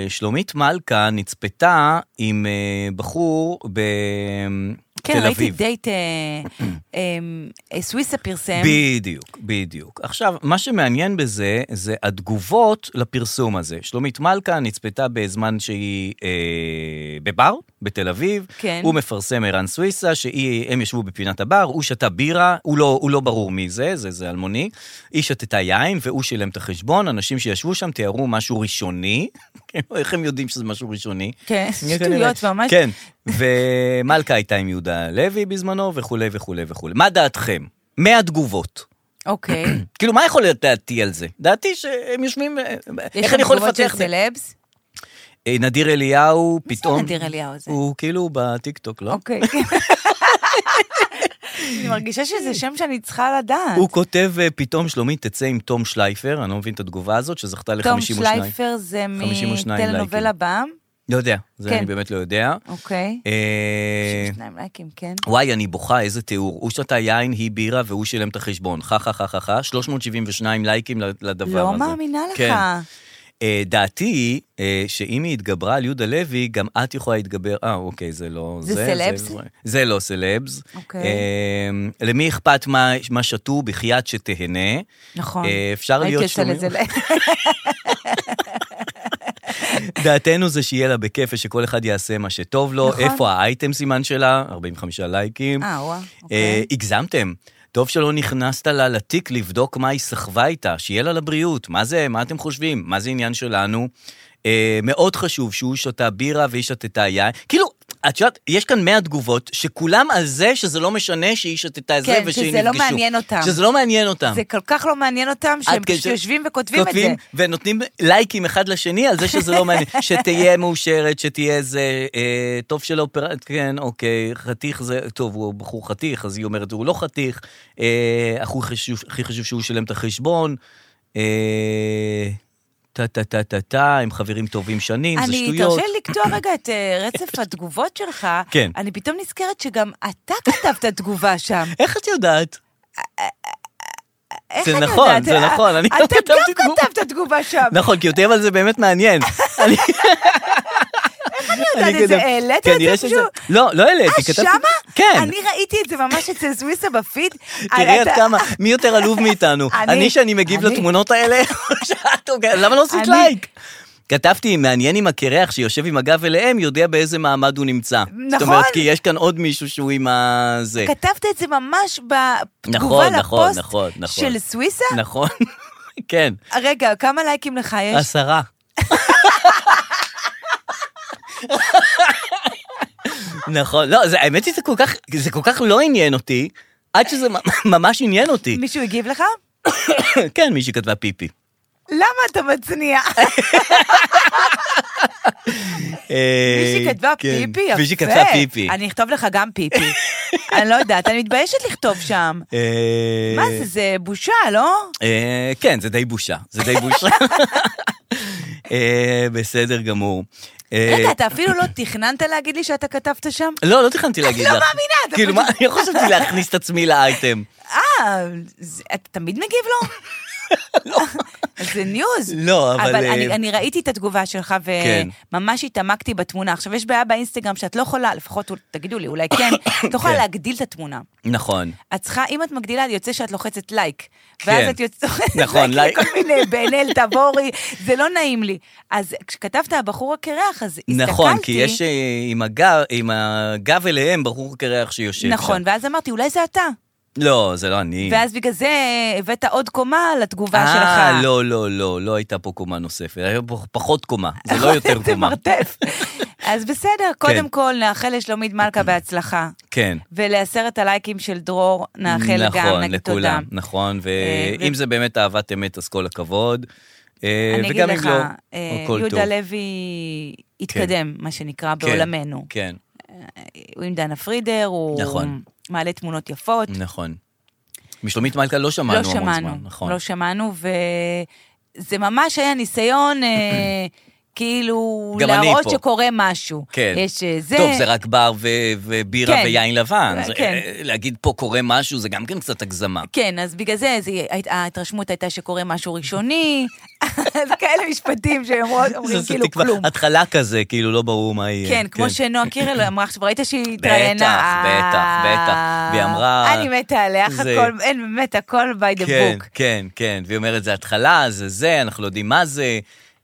B: ששלומית מלכה נצפתה עם אה, בחור בתל אביב.
C: כן, ראיתי
B: (coughs)
C: דייט, אה, אמ, אה, סוויסה פרסם.
B: בדיוק, בדיוק. עכשיו, מה שמעניין בזה, זה התגובות לפרסום הזה. שלומית מלכה נצפתה בזמן שהיא אה, בבר, בתל אביב.
C: כן.
B: הוא מפרסם ערן סוויסה, שהם ישבו בפינת הבר, הוא שתה בירה, הוא לא, הוא לא ברור מי זה, זה, זה אלמוני. היא שתתה יין והוא שילם את החשבון, אנשים שישבו שם תיארו משהו ראשוני. (laughs) כאילו, איך הם יודעים שזה משהו ראשוני?
C: כן, (laughs) שטויות ממש.
B: כן, ומלכה הייתה עם יהודה לוי בזמנו, וכולי וכולי וכולי. מה דעתכם? מהתגובות. (coughs)
C: אוקיי.
B: כאילו, מה יכול להיות דעתי על זה? דעתי שהם יושבים... אה,
C: יש
B: איך
C: שם
B: אני יכול
C: תגובות
B: לפתח
C: של
B: את זה?
C: סלבס?
B: אה, נדיר אליהו פתאום...
C: נדיר אליהו הזה?
B: הוא כאילו בטיקטוק, לא?
C: אוקיי. אני מרגישה שזה שם שאני צריכה לדעת.
B: הוא כותב אה, פתאום שלומית תצא עם תום שלייפר, אני לא מבין את התגובה הזאת, שזכתה
C: תום
B: ל-52.
C: שלייפר זה
B: 52
C: מטלנובלה
B: לייקים.
C: בעם?
B: לא יודע, זה
C: כן.
B: אני באמת לא יודע.
C: אוקיי.
B: אה,
C: שניים לייקים, כן.
B: וואי, אני בוכה, איזה תיאור. הוא שתה יין, היא בירה, והוא שילם את החשבון. חה חה חה חה חה, 372 לייקים לדבר
C: לא
B: הזה.
C: מאמינה לך.
B: כן. אה, דעתי היא אה, שאם היא התגברה על יהודה לוי, גם את יכולה להתגבר... אה, אוקיי, זה לא...
C: זה סלבס?
B: זה, זה לא סלבס.
C: אוקיי.
B: אה, למי אכפת מה, מה שתו? בחייאת שתהנה.
C: נכון.
B: אה, אפשר
C: הייתי
B: להיות
C: עושה
B: שלומים.
C: לזה לייק.
B: דעתנו זה שיהיה לה בכיף ושכל אחד יעשה מה שטוב לו.
C: נכון.
B: איפה האייטם סימן שלה? 45 לייקים.
C: אה, וואו,
B: אה,
C: אוקיי.
B: הגזמתם. טוב שלא נכנסת לה לתיק לבדוק מה היא סחבה איתה, שיהיה לה לבריאות. מה זה, מה אתם חושבים? מה זה עניין שלנו? אה, מאוד חשוב שהוא שתה בירה והיא שתתה יין. כאילו, את יודעת, יש כאן 100 תגובות שכולם על זה שזה לא משנה שהיא שתתה את זה
C: כן,
B: ושהיא נפגשו.
C: שזה לא מעניין אותם.
B: שזה לא מעניין אותם.
C: (laughs) זה כל כך לא מעניין אותם שהם
B: עד כדי
C: פשוט
B: ש-
C: יושבים וכותבים את זה.
B: ונותנים לייקים אחד לשני על זה שזה
C: (laughs)
B: לא מעניין. שתהיה מאושרת, שתהיה איזה... אה, טוב שלא פרט, כן, אוקיי, חתיך זה... טוב, הוא בחור חתיך, אז היא אומרת, הוא לא חתיך. אה, הכי חשוב, הכי חשוב שהוא ישלם את החשבון. אה, טה טה טה טה טה, הם חברים טובים שנים, זה
C: אני,
B: שטויות.
C: תרשה לי לקטוע רגע את אה,
B: (laughs)
C: רצף התגובות שלך.
B: כן.
C: אני פתאום נזכרת שגם אתה כתבת תגובה שם.
B: איך את יודעת?
C: איך
B: זה
C: אני
B: נכון,
C: יודעת?
B: זה
C: אה,
B: נכון, אני גם
C: אתה
B: כתבתי
C: גם
B: תגובה.
C: כתבת תגובה שם.
B: נכון, כי אותי אבל זה באמת
C: (laughs)
B: מעניין. אני-
C: יודעת
B: אני
C: את זה?
B: כתב-
C: העלית את
B: כנראה
C: זה
B: כן, שזה-
C: פשוט?
B: לא, לא העליתי,
C: אה,
B: כתבתי...
C: שמה?
B: כן.
C: אני ראיתי את זה ממש אצל סוויסה בפיד.
B: (laughs)
C: אה,
B: תראי עד
C: אתה-
B: כמה, מי יותר עלוב מאיתנו?
C: אני-
B: אני שאני מגיב
C: אני.
B: לתמונות האלה, (laughs) שאת אומרת, למה לא עשית
C: אני.
B: לייק? כתבתי, מעניין אם הקרח שיושב עם הגב אליהם יודע באיזה מעמד הוא נמצא. זאת
C: נכון.
B: אומרת, כי יש כאן עוד מישהו שהוא עם ה... זה.
C: כתבת את זה ממש בתגובה
B: נכון, נכון,
C: לפוסט
B: נכון, נכון.
C: של סוויסה?
B: נכון? (laughs) כן.
C: רגע, כמה לייקים לך יש?
B: עשרה. (laughs) נכון, לא, זה, האמת היא שזה כל כך, זה כל כך לא עניין אותי, עד שזה ממש עניין אותי.
C: מישהו הגיב לך?
B: (laughs) כן, מישהי כתבה פיפי.
C: למה אתה
B: (laughs)
C: מצניע? מישהי
B: אה,
C: כתבה
B: כן.
C: פיפי, יפה.
B: מישהי כתבה פיפי.
C: אני אכתוב לך גם
B: (laughs)
C: פיפי. אני לא יודעת, אני מתביישת לכתוב שם.
B: אה,
C: מה זה, זה בושה, לא?
B: אה, כן, זה די בושה. זה די
C: (laughs)
B: בושה. אה, בסדר גמור. אה,
C: רגע, אתה אפילו לא תכננת להגיד לי שאתה כתבת שם?
B: לא, לא תכננתי להגיד לך.
C: לא מאמינה, אתה
B: כאילו, מה, אני לא חשבתי להכניס את עצמי לאייטם.
C: אה, זה- אתה תמיד מגיב
B: (laughs)
C: לו? לא. (laughs) זה ניוז.
B: לא, אבל,
C: אבל
B: אה,
C: אני- אני ראיתי את התגובה שלך,
B: כן.
C: וממש התעמקתי בתמונה. עכשיו, יש בעיה באינסטגרם שאת לא יכולה, לפחות תגידו לי, אולי
B: (coughs)
C: כן, את לא יכולה
B: כן.
C: להגדיל את התמונה.
B: נכון.
C: את צריכה, אם את מגדילה, יוצא שאת לוחצת לייק. ואז
B: כן.
C: את יוצאת
B: (laughs)
C: לוחצת
B: נכון,
C: לייק
B: לייק.
C: לכל מיני, בעינל תבורי, זה לא נעים לי. אז כשכתבת הבחור הקרח, אז הסתכלתי.
B: נכון, כי יש אה, עם הגב- עם הגב אליהם בחור קרח שיושב שם.
C: נכון, ואז אמרתי, אולי זה אתה.
B: לא, זה לא אני.
C: ואז בגלל זה הבאת עוד קומה לתגובה שלך.
B: אה,
C: (laughs)
B: לא, לא, לא, לא הייתה פה קומה כן. נוספת. היה פה פחות קומה, זה לא יותר
C: זה
B: קומה.
C: מרתף. אז
B: (laughs)
C: בסדר, קודם כל נאחל לשלומית מלכה בהצלחה.
B: כן.
C: ולעשרת הלייקים של דרור נאחל גם,
B: נכון,
C: נגיד תודה.
B: לכולם, נכון,
C: אה,
B: ואם
C: ו-
B: זה באמת אהבת אמת, אז כל הכבוד. אה,
C: אני אגיד
B: וגם אם
C: לך,
B: לא,
C: אה,
B: הכל טוב.
C: יהודה לוי התקדם, מה שנקרא,
B: כן,
C: בעולמנו.
B: כן,
C: הוא עם דנה פרידר, הוא
B: נכון.
C: מעלה תמונות יפות.
B: נכון. משלומית מלכה לא שמענו
C: לא
B: המון זמן,
C: שמענו,
B: נכון.
C: לא שמענו, וזה ממש היה ניסיון,
B: (clears throat)
C: אה, כאילו,
B: גם אני
C: להראות
B: פה.
C: שקורה משהו.
B: כן.
C: יש אה, זה...
B: טוב, זה רק בר ו- ובירה
C: כן.
B: ויין לבן. זה-
C: כן.
B: אה, להגיד פה קורה משהו, זה גם כן קצת הגזמה.
C: כן, אז בגלל זה, זה היית- ההתרשמות הייתה שקורה משהו ראשוני, (laughs) אז כאלה משפטים שאומרים
B: זה
C: כאילו
B: תקווה-
C: כלום.
B: התחלה כזה, כאילו לא ברור מה יהיה.
C: כן, כמו
B: (laughs)
C: שנועה קירל אמרה עכשיו, ראית שהיא
B: בטח,
C: התראיינה? אה,
B: בטח, בטח. והיא אמרה-
C: אני מתה עליה,
B: זה-
C: הכל, אין, באמת, הכל by the
B: כן,
C: book.
B: כן, כן, והיא אומרת, זה התחלה, זה זה, אנחנו לא יודעים מה זה.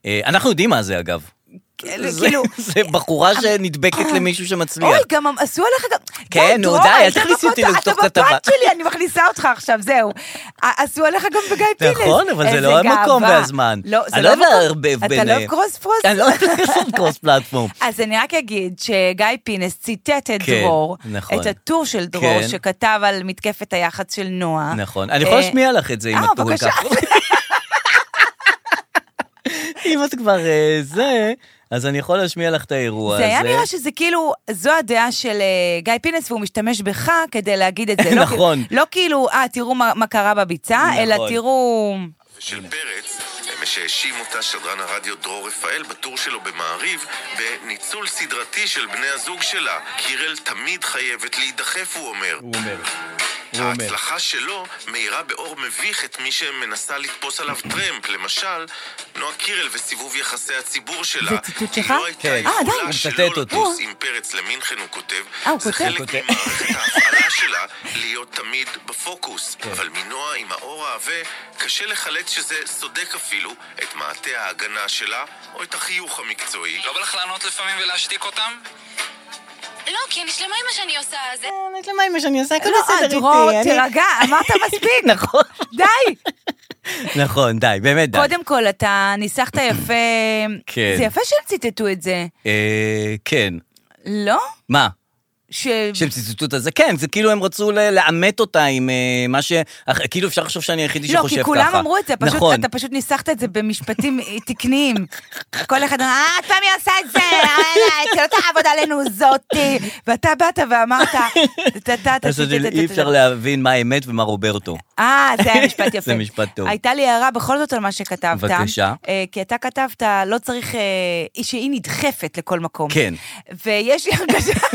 B: אה, אנחנו יודעים מה זה, אגב.
C: כאילו- אה,
B: זה- (laughs) זה בחורה שנדבקת למישהו שמצליח.
C: אוי, גם עשו עליך גם...
B: כן,
C: די,
B: נו,
C: דרור,
B: די, אל
C: אתה
B: תכניסי אותי
C: בפוד-
B: לתוך
C: אתה
B: כתבה.
C: בפוד שלי, אני מכניסה אותך עכשיו, זהו. ע- עשו עליך גם בגיא פינס.
B: נכון, אבל זה
C: איזה
B: לא המקום
C: גאווה.
B: והזמן.
C: לא, זה
B: אני
C: לא
B: לא
C: המקום.
B: מערבב
C: אתה לא
B: ביניהם.
C: קרוס פרוס.
B: אני לא הולך לעשות קרוס פלטפורם.
C: אז אני רק אגיד שגיא פינס ציטט את
B: כן,
C: דרור,
B: נכון.
C: את הטור של דרור,
B: כן.
C: שכתב על מתקפת היח"צ של נועה.
B: נכון, אני יכול
C: אה,
B: להשמיע לך את זה אם
C: אה,
B: את כל
C: בבקשה.
B: כך...
C: (laughs)
B: אם את כבר אה, זה, אז אני יכול להשמיע לך את האירוע
C: זה
B: הזה.
C: היה נראה שזה כאילו, זו הדעה של אה, גיא פינס, והוא משתמש בך כדי
B: (laughs)
C: להגיד את זה. לא
B: נכון.
C: כאילו- לא כאילו, אה, תראו מה מה קרה בביצה, אלא
B: נכון.
C: תראו...
G: של פרץ, אמש שהאשים אותה שדרן הרדיו דרור רפאל בטור שלו במעריב בניצול סדרתי של בני הזוג שלה. קירל תמיד חייבת להידחף, הוא אומר.
B: הוא אומר, הוא אומר.
G: ההצלחה שלו מאירה באור מביך את מי שמנסה לתפוס עליו טרמפ, למשל, נועה קירל וסיבוב יחסי הציבור שלה.
C: זה ציטוט
G: היא
C: שלך?
G: לא הייתה
B: כן. אה,
G: יכולה
C: די, הוא
G: שלא
B: מצטט אותי.
G: לטוס עם פרץ למינכן, הוא כותב.
C: אה, הוא
G: זה
C: כותב.
G: חלק
B: כותב.
G: ממערכת ההפעלה שלה להיות תמיד בפוקוס.
B: כן.
G: אבל מנועה עם האור העבה, קשה לחלץ שזה סודק אפילו את מעטה ההגנה שלה, או את החיוך המקצועי.
H: לא בא לך לענות לפעמים ולהשתיק אותם?
I: לא, כי אני שלמה עם מה שאני עושה, זה...
B: יש למה מה שאני עושה, הכל
C: לא,
B: בסדר
C: אה,
B: איתי.
C: דרור,
B: אני-
C: תירגע,
B: (laughs)
C: אמרת מספיק.
B: נכון,
C: די.
B: נכון, די, באמת די.
C: קודם כל, אתה ניסחת יפה.
B: כן.
C: זה יפה שהם ציטטו את זה.
B: אה, כן.
C: לא?
B: מה?
C: ש...
B: שהם ציטטו את זה? כן, זה כאילו הם רצו ל- לעמת אותה עם אה, מה ש... אך, כאילו אפשר לחשוב שאני היחידי
C: לא,
B: שחושב ככה.
C: כי כולם אמרו את זה, פשוט,
B: נכון.
C: אתה פשוט ניסחת את זה במשפטים (laughs) תקניים. כל אחד אמר, אה, את פעם היא עושה את זה, אה, זה לא תעבוד עלינו זאתי. ואתה באת
B: (laughs)
C: ואמרת, "טה, טה, טה,
B: אז
C: טה, טה, טה,
B: אי
C: טה,
B: אפשר
C: טה."
B: להבין מה האמת ומה רוברטו.
C: אה, זה היה משפט יפה.
B: (laughs) זה משפט טוב.
C: הייתה לי הערה בכל זאת על מה שכתבת.
B: בבקשה.
C: אה, כי אתה כתבת, לא צריך, אה, שהיא נדחפת לכל מקום.
B: כן.
C: ויש לי
B: (laughs)
C: הרגשה... (laughs)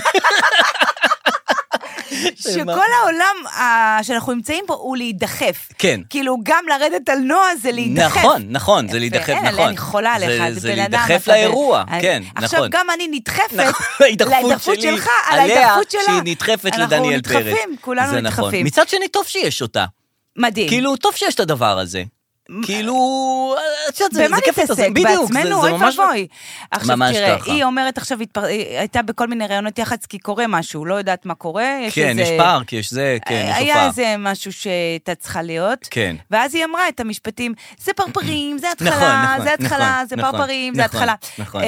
C: שכל העולם אה, שאנחנו נמצאים פה הוא להידחף.
B: כן.
C: כאילו, גם לרדת על נועה זה להידחף.
B: נכון, נכון, זה
C: יפה,
B: להידחף,
C: אין,
B: נכון.
C: אני חולה
B: זה-
C: עליך,
B: זה
C: בן אדם.
B: להידחף
C: אתה ב-
B: לאירוע,
C: אני-
B: כן, (laughs)
C: עכשיו,
B: נכון.
C: גם אני נדחפת.
B: נכון, (laughs) ההידחפות שלי,
C: שלך, על ההידחפות שלה.
B: שהיא נדחפת לדניאל פרץ.
C: אנחנו נדחפים, כולנו
B: זה נכון.
C: נדחפים. כן.
B: מצד שני, טוב שיש אותה.
C: מדהים.
B: כאילו, טוב שיש את הדבר הזה. כאילו, את יודעת, זה
C: במה
B: זה כיף
C: נתעסק?
B: הזה, בדיוק, זה-
C: בעצמנו,
B: זה
C: אוי
B: ממש... לא-
C: ואבוי. עכשיו
B: ממש
C: תראה,
B: ככה.
C: היא אומרת עכשיו, התפר- היא הייתה בכל מיני ראיונות יח"צ כי קורה משהו, לא יודעת מה קורה, יש
B: כן,
C: איזה...
B: יש פארק, יש זה, כן, יש
C: אה, היה
B: הופעה.
C: איזה משהו שהייתה צריכה להיות.
B: כן.
C: ואז היא אמרה את המשפטים, זה פרפרים, זה
B: נכון,
C: התחלה,
B: נכון,
C: זה התחלה,
B: נכון,
C: זה
B: נכון,
C: פרפרים, זה
B: נכון,
C: התחלה.
B: נכון.
C: אמ,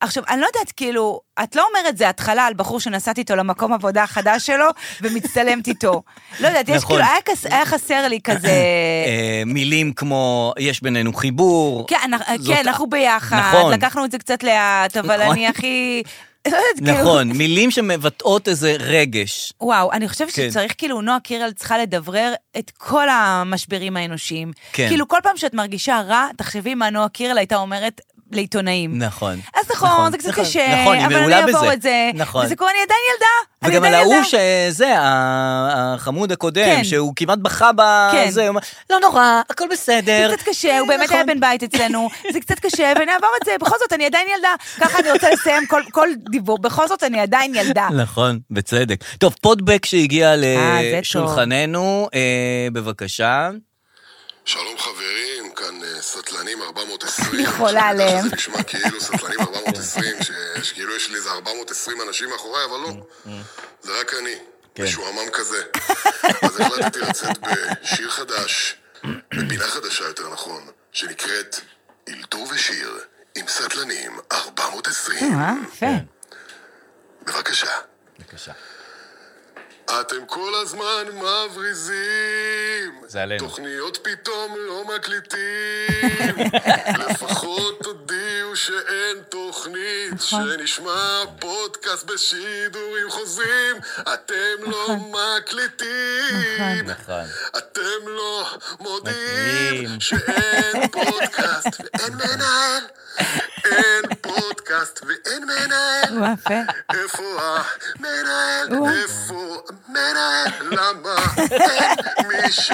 C: עכשיו, אני לא יודעת, כאילו, את לא אומרת זה התחלה על בחור שנסעת איתו למקום עבודה החדש שלו ומצטלמת איתו. (laughs) לא יודעת, יש
B: נכון.
C: כאילו, היה כס- היה חסר לי כזה...
B: אה, מילים כמו, יש בינינו חיבור.
C: כן, אנחנו-
B: זאת-
C: כן, אנחנו ביחד,
B: נכון.
C: לקחנו את זה קצת לאט, אבל
B: נכון.
C: אני הכי... לא יודעת, כאילו-
B: נכון, מילים שמבטאות איזה רגש.
C: וואו, אני חושבת
B: כן.
C: שצריך, כאילו, נועה קירל צריכה לדברר את כל המשברים האנושיים.
B: כן.
C: כאילו, כל פעם שאת מרגישה רע, תחשבי מה נועה קירל הייתה אומרת לעיתונאים.
B: נכון.
C: אז נכון, זה קצת
B: נכון,
C: קשה,
B: נכון, היא
C: אבל אני
B: מעולה בזה.
C: אעבור את זה.
B: נכון.
C: וזה קורה, אני עדיין ילדה. אני
B: וגם על
C: עדיין
B: ההוא
C: ילדה.
B: שזה, ה- החמוד הקודם,
C: כן.
B: שהוא כמעט בכה
C: כן.
B: בזה, הוא אמר, לא נורא, הכל בסדר.
C: זה קצת קשה, הוא באמת
B: נכון.
C: היה בן בית אצלנו, זה קצת קשה, ונעבור את זה, בכל זאת, אני עדיין ילדה. ככה אני רוצה לסיים כל- כל דיבור, בכל זאת, אני עדיין ילדה.
B: נכון, בצדק. טוב, פודבק שהגיע
C: אה, זה טוב.
B: לשולחננו, אה, בבקשה.
G: שלום חברים, כאן אה,
C: (laughs)
G: סטלנים 420.
C: אני חולה
G: אני יודע
C: נכון, עליהם.
G: שזה נשמע כאילו סטלנים 420,
C: (laughs)
G: ש- שכאילו יש לי איזה 420 אנשים מאחוריי, אבל לא.
C: Mm,
G: זה רק אני,
C: כן.
G: משועמם כזה. אז החלטתי לצאת בשיר
C: (coughs)
G: חדש, בפינה חדשה יותר נכון, שנקראת אלתור ושיר עם סטלנים 420.
C: אה, יפה.
G: בבקשה.
B: בבקשה.
G: אתם כל הזמן מבריזים.
A: זה עלינו.
G: תוכניות פתאום לא מקליטים. לפחות תודיעו שאין תוכנית, שנשמע פודקאסט בשידורים חוזרים. אתם לא מקליטים.
B: נכון.
G: אתם לא
A: מתנים.
G: מודיעים שאין פודקאסט ואין מנהל. אין פודקאסט
B: כן.
G: ואין מנהל.
C: וואו, יפה.
G: איפה המנהל? איפה המנהל? למה אין מי ש...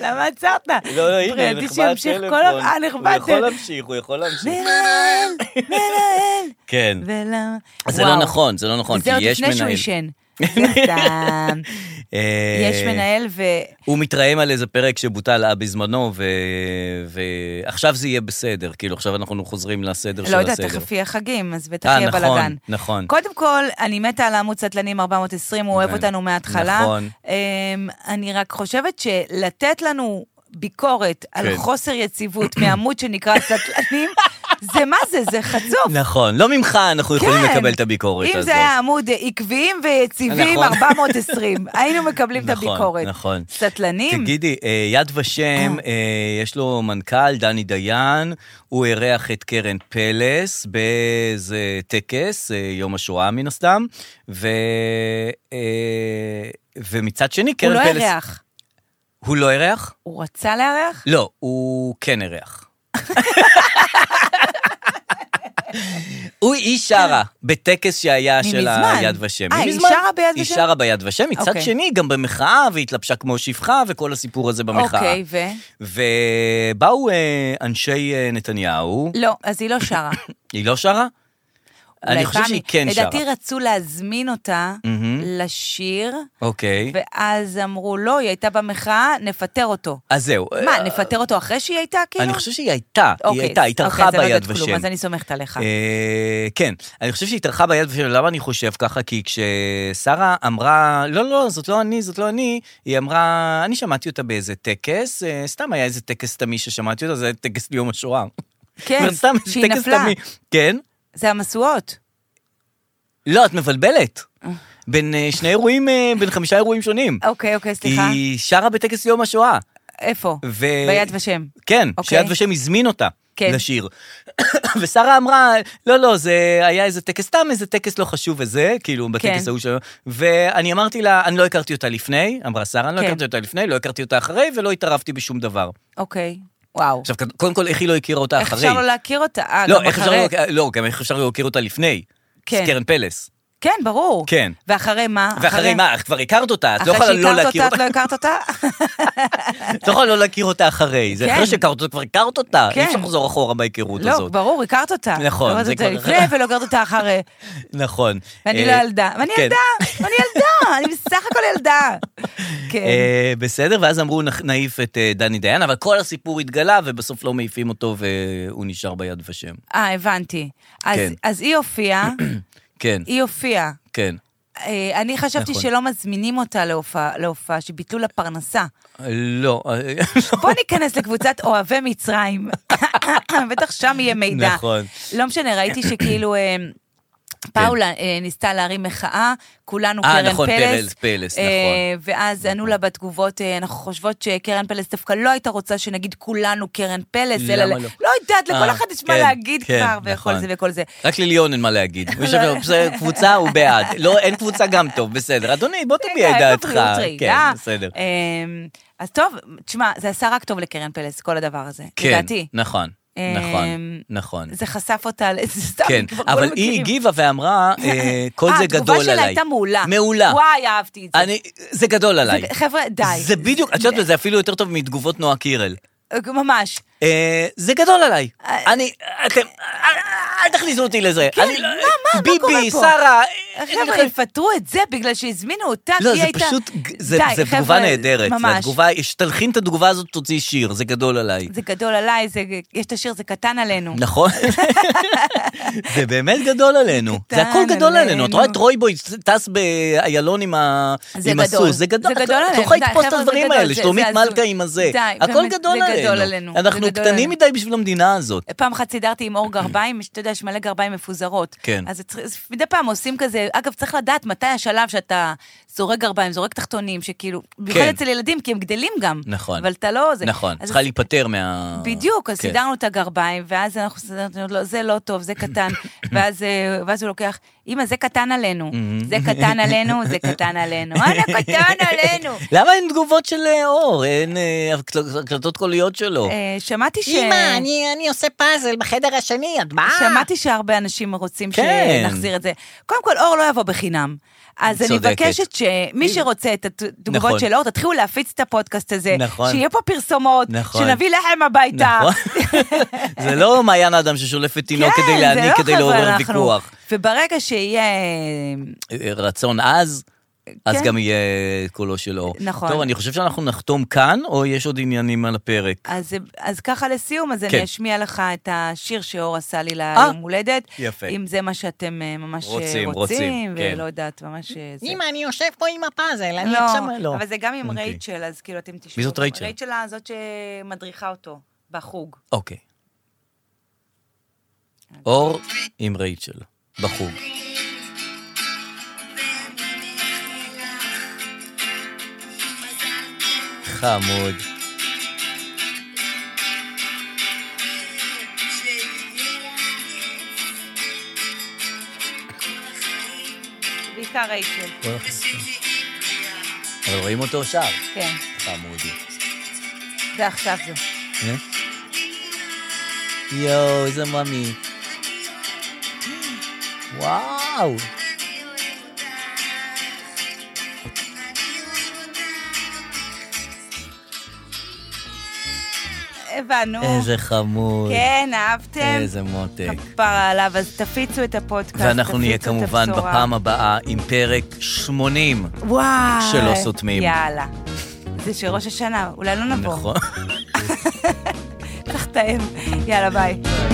C: למה עצרת?
B: לא, לא, הנה,
C: פרייתי
B: נחבט
C: שימשיך
B: טלפון.
C: כל הזמן. אה, נחבט.
B: הוא יכול להמשיך, הוא יכול להמשיך.
C: מנהל, מנהל.
B: כן.
C: ולמה?
B: אז זה לא
C: וואו.
B: נכון, זה לא נכון, כי
C: זה עוד
B: יש
C: לפני שהוא
B: מנהל. (laughs)
C: עישן. זה סתם.
B: אה,
C: יש מנהל ו...
B: הוא מתרעם על איזה פרק שבוטל אה, בזמנו, ו... ועכשיו זה יהיה בסדר, כאילו עכשיו אנחנו חוזרים לסדר של
C: לא יודעת,
B: הסדר.
C: תכף יהיה חגים, אז בטח
B: אה,
C: יהיה
B: נכון,
C: בלאגן.
B: נכון.
C: קודם כל, אני מתה על העמוד סטלנים 420, הוא אוהב
B: נכון.
C: אותנו מההתחלה.
B: נכון.
C: אמ, אני רק חושבת שלתת לנו ביקורת על
B: כן.
C: חוסר יציבות (coughs) מעמוד שנקרא סטלנים, זה מה זה? זה חצוף.
B: נכון, לא ממך אנחנו יכולים לקבל את הביקורת הזאת.
C: כן. אם זה היה עמוד אה, עקביים ויציבים,
B: נכון. (laughs)
C: 420, היינו מקבלים את
B: נכון,
C: הביקורת.
B: נכון.
C: סטלנים?
B: תגידי, אה, יד ושם, אה, יש לו מנכ"ל, דני דיין, הוא אירח את קרן פלס באיזה טקס, אה, יום השואה מן הסתם, ו... אה, ומצד שני,
C: הוא
B: קרן
C: לא
B: פלס...
C: אירח.
B: הוא לא אירח?
C: הוא רצה לארח?
B: לא, הוא כן אירח. הוא, היא שרה בטקס שהיה של
C: מזמן.
B: היד ושם.
C: אה, היא
B: מזמן.
C: שרה ביד
B: היא
C: ושם?
B: שרה ביד ושם, מצד
C: אוקיי.
B: שני, גם במחאה, והתלבשה כמו שפחה, וכל הסיפור הזה במחאה.
C: אוקיי, ו?
B: ובאו אה, אנשי אה, נתניהו,
C: לא, אז היא לא שרה.
B: היא לא שרה? (laughs) אני
C: אולי
B: חושב
C: פעם
B: שהיא
C: היא-
B: כן שרה.
C: לדעתי רצו להזמין אותה לשיר,
B: אוקיי.
C: ואז אמרו, לא, היא הייתה במחאה, נפטר אותו.
B: אז זהו.
C: מה,
B: אה,
C: נפטר אותו אחרי שהיא הייתה, כאילו?
B: אני חושב שהיא הייתה, היא
C: אוקיי,
B: הייתה, היא
C: אוקיי,
B: התארחה
C: אז אני לא
B: ביד
C: יודעת כלום,
B: ושם.
C: אז אני סומכת עליך.
B: אה, כן, אני חושב שהיא התארחה ביד ושם, למה אני חושב ככה? כי כששרה אמרה, לא, לא, זאת לא אני, זאת לא אני, היא אמרה, אני שמעתי אותה באיזה טקס, אה, סתם היה איזה טקס תמי ששמעתי אותה, זה היה טקס ליום השואה.
C: כן,
B: (laughs) סתם, איזה
C: שהיא
B: טקס
C: נפלה.
B: תמי. כן?
C: זה המשואות.
B: לא, את מבלבלת. בין אה, שני אירועים, אה, בין חמישה אירועים שונים.
C: אוקיי, אוקיי, סליחה.
B: היא שרה בטקס יום השואה.
C: איפה?
B: ו...
C: ביד ושם.
B: כן,
C: אוקיי.
B: שיד ושם הזמין אותה
C: כן.
B: לשיר. (coughs) ושרה אמרה, לא, לא, זה היה איזה טקס, סתם איזה טקס לא חשוב וזה, כאילו, בטקס
C: כן.
B: ההוא שלו. ואני אמרתי לה, אני לא הכרתי אותה לפני, אמרה שרה, אני לא
C: כן.
B: הכרתי אותה לפני, לא הכרתי אותה אחרי, ולא התערבתי בשום דבר.
C: אוקיי, וואו.
B: עכשיו, קודם כל, איך היא לא הכירה אותה
C: איך
B: אחרי?
C: אפשר לא להכיר אותה? אה,
B: לא,
C: גם
B: איך אפשר
C: אחרי?
B: לא- לא, גם איך אפשר להכיר אותה לפני?
C: כן.
B: זה קרן פלס.
C: כן, ברור.
B: כן.
C: ואחרי מה?
B: ואחרי מה? את כבר הכרת אותה, את לא
C: אחרי
B: יכולה לא
C: שהכרת
B: להכיר
C: אותה, את
B: אותה.
C: לא הכרת
B: (laughs)
C: אותה?
B: את לא יכולה לא להכיר אותה אחרי. זה
C: כן.
B: אחרי שהכרת אותה, כבר הכרת אותה. אי
C: כן.
B: אפשר לחזור אחורה בהיכרות
C: לא,
B: הזאת.
C: ברור, הכרת אותה. לא
B: נכון,
C: הכרת
B: זה
C: אותה
B: כבר-
C: לפני ולא הכרת אותה אחרי.
B: (laughs) נכון.
C: ואני
B: אה,
C: לא ילדה. ואני
B: כן. (laughs)
C: ילדה, ואני ילדה, אני בסך הכל ילדה. כן.
B: אה, בסדר, ואז אמרו "נח- נעיף את אה, דני דיין, אבל כל הסיפור התגלה, ובסוף לא מעיפים אותו והוא נשאר ביד ושם.
C: אה, הבנתי. אז-
B: כן.
C: אז
B: (clears throat)
C: היא הופיעה,
B: כן,
C: היא הופיעה.
B: כן.
C: אה, אני חשבתי
B: נכון.
C: שלא מזמינים אותה להופעה- להופעה, שביטלו לה פרנסה.
B: לא, אה, (laughs)
C: בוא ניכנס לקבוצת אוהבי מצרים. בטח שם יהיה מידע.
B: נכון.
C: לא משנה, ראיתי שכאילו... אה, פאולה אה, ניסתה להרים מחאה, כולנו
B: כן. אה,
C: קרן
B: נכון,
C: פלס.
B: פרס, פלס,
C: אה,
B: נכון.
C: ואז ענו לה בתגובות, אה, אנחנו חושבות שקרן פלס דווקא לא הייתה רוצה שנגיד כולנו קרן פלס, אלא...
B: למה
C: ל-
B: לא?
C: לא יודעת, לכל
B: אה,
C: אחד יש מה
B: כן,
C: להגיד
B: כן,
C: כבר, וכל
B: נכון.
C: זה וכל זה.
B: רק לליון אין מה להגיד. הוא יושב
C: (laughs)
B: לו, "בסדר, קבוצה, הוא בעד. לא, אין קבוצה גם טוב, בסדר. אדוני, בוא תביע את
C: רגע,
B: דעתך.
C: איפה בריאות
B: כן,
C: רעילה?
B: בסדר.
C: אמ, אז טוב, תשמע, זה עשה רק טוב לקרן פלס, כל הדבר הזה,
B: כן,
C: לדעתי.
B: נכון, נכון,
C: אמ,
B: נכון.
C: זה חשף אותה לאיזה סתם,
B: כן,
C: כבר כולם
B: אבל היא
C: מכירים.
B: הגיבה ואמרה,
C: (laughs)
B: אה, כל זה גדול עליי.
C: התגובה שלה הייתה מעולה.
B: מעולה.
C: וואי, אהבתי את זה.
B: אני, זה גדול עליי.
C: זה- חבר'ה, די.
B: זה בדיוק, את יודעת מה, זה אפילו יותר טוב מתגובות נועה קירל.
C: ממש.
B: אה, זה גדול עליי. אני, אתם, אה, אל- אל תכניסו אותי לזה.
C: אה, כן,
B: אני- לא-
C: מה, מה, מה קורה
B: ביבי,
C: פה?
B: שרה... אה,
C: חבר'ה,
B: אה,
C: יפטרו את זה בגלל שהזמינו אותה,
B: לא,
C: כי
B: זה
C: היא הייתה...
B: פשוט, זה
C: די,
B: זה
C: חבר'ה,
B: תגובה נהדרת. זה
C: ממש.
B: התגובה, שתלחין את התגובה הזאת, תוציא שיר, זה גדול עליי.
C: זה גדול עליי, זה- יש את השיר, זה קטן עלינו.
B: נכון? זה באמת גדול עלינו. זה
C: קטן
B: הכל גדול עלינו.
C: עלינו.
B: את רואה את רוי טס באיילון עם ה-
C: זה
B: עם
C: גדול.
B: הסוס. זה גדול.
C: זה גדול
B: את לא
C: עלינו.
B: יכולה
C: די,
B: לתפוס את
C: חבר'ה, זה
B: הדברים
C: גדול,
B: האלה,
C: זה-
B: שלומית
C: זה הזוי.
B: מלכה עם הזה.
C: די,
B: הכל
C: באמת,
B: גדול
C: זה גדול
B: עלינו.
C: עלינו. זה
B: אנחנו
C: גדול.
B: קטנים מדי בשביל המדינה הזאת.
C: פעם אחת סידרתי עם אור גרביים, (clears throat) אתה יודע, יש מלא גרביים מפוזרות.
B: כן.
C: אז צריך- אז מדי פעם עושים כזה, אגב, צריך לדעת מתי השלב שאתה זורק גרביים, זורק תחתונים, שכאילו, במיוחד
B: כן.
C: אצל ילדים, כי הם גדלים גם.
B: נכון.
C: אבל אתה לא... זה-
B: נכון,
C: אז
B: צריכה להיפטר מה...
C: בדיוק, אז
B: כן.
C: סידרנו את הגרביים, ואז אנחנו סידרנו, לא, זה לא טוב, זה
B: (laughs)
C: קטן, ואז, אה, ואז הוא לוקח, אמא, זה קטן עלינו,
B: Mm-hmm.
C: זה קטן עלינו, זה קטן עלינו, אנא קטן
B: (laughs)
C: עלינו.
B: למה אין תגובות של אה, אור? אין אה, הקל- הקלטות קוליות שלו.
C: אה, שמעתי ש...
B: אני עושה פאזל בחדר השני, את באה?
C: שמעתי שהרבה אנשים רוצים
B: אה. כן.
C: שנחזיר את זה. קודם כל, אור לא יבוא בחינם. אז אני
B: צודקת.
C: מבקשת שמי שרוצה את התגובות
B: נכון.
C: של אור, תתחילו להפיץ את הפודקאסט הזה.
B: נכון.
C: שיהיה פה פרסומות,
B: נכון.
C: שנביא לחם הביתה.
B: נכון.
C: (laughs)
B: זה לא מעיין האדם ששולפת תינוק
C: כן,
B: כדי
C: זה
B: להעניק,
C: לא
B: כדי לעורר
C: חבר'ה, אנחנו-
B: ויכוח.
C: וברגע שיהיה...
B: אה, רצון עז, אז
C: כן.
B: גם יהיה קולו של אור.
C: נכון.
B: טוב, אני חושב שאנחנו נחתום כאן, או יש עוד עניינים על הפרק?
C: אז, אז ככה לסיום, אז
B: כן.
C: אני אשמיע לך את השיר שאור עשה לי
B: אה,
C: ליום הולדת.
B: יפה.
C: אם זה מה שאתם אה, ממש אה,
B: רוצים,
C: רוצים,
B: רוצים, כן.
C: ולא יודעת, ממש... אה, זה.
D: אמא, אני יושב פה עם הפאזל, אני עכשיו...
C: לא,
B: לא.
C: אבל זה גם עם
B: אוקיי.
C: רייצ'ל, אז כאילו אתם תשמעו.
B: מי זאת רייצ'ל?
C: רייצ'ל הזאת שמדריכה אותו בחוג.
B: אוקיי. אור עם רייצ'ל, בחוג. חמוד.
C: בעיקר רייצ'ל,
B: אבל רואים אותו שר,
C: כן.
B: חמודי.
C: זה עכשיו זה.
B: הנה. יואו, איזה מאמי. וואו.
C: הבנו.
B: איזה חמוד.
C: כן, אהבתם?
B: איזה מותק.
C: כפרה עליו, אז תפיצו את הפודקאסט,
B: ואנחנו נהיה
C: תפיצו את
B: כמובן
C: הבשורה.
B: בפעם הבאה עם פרק 80.
C: וואי.
B: שלא סותמים.
C: יאללה. זה של ראש השנה, אולי לא נבוא.
B: נכון.
C: צריך לתאם. יאללה, ביי.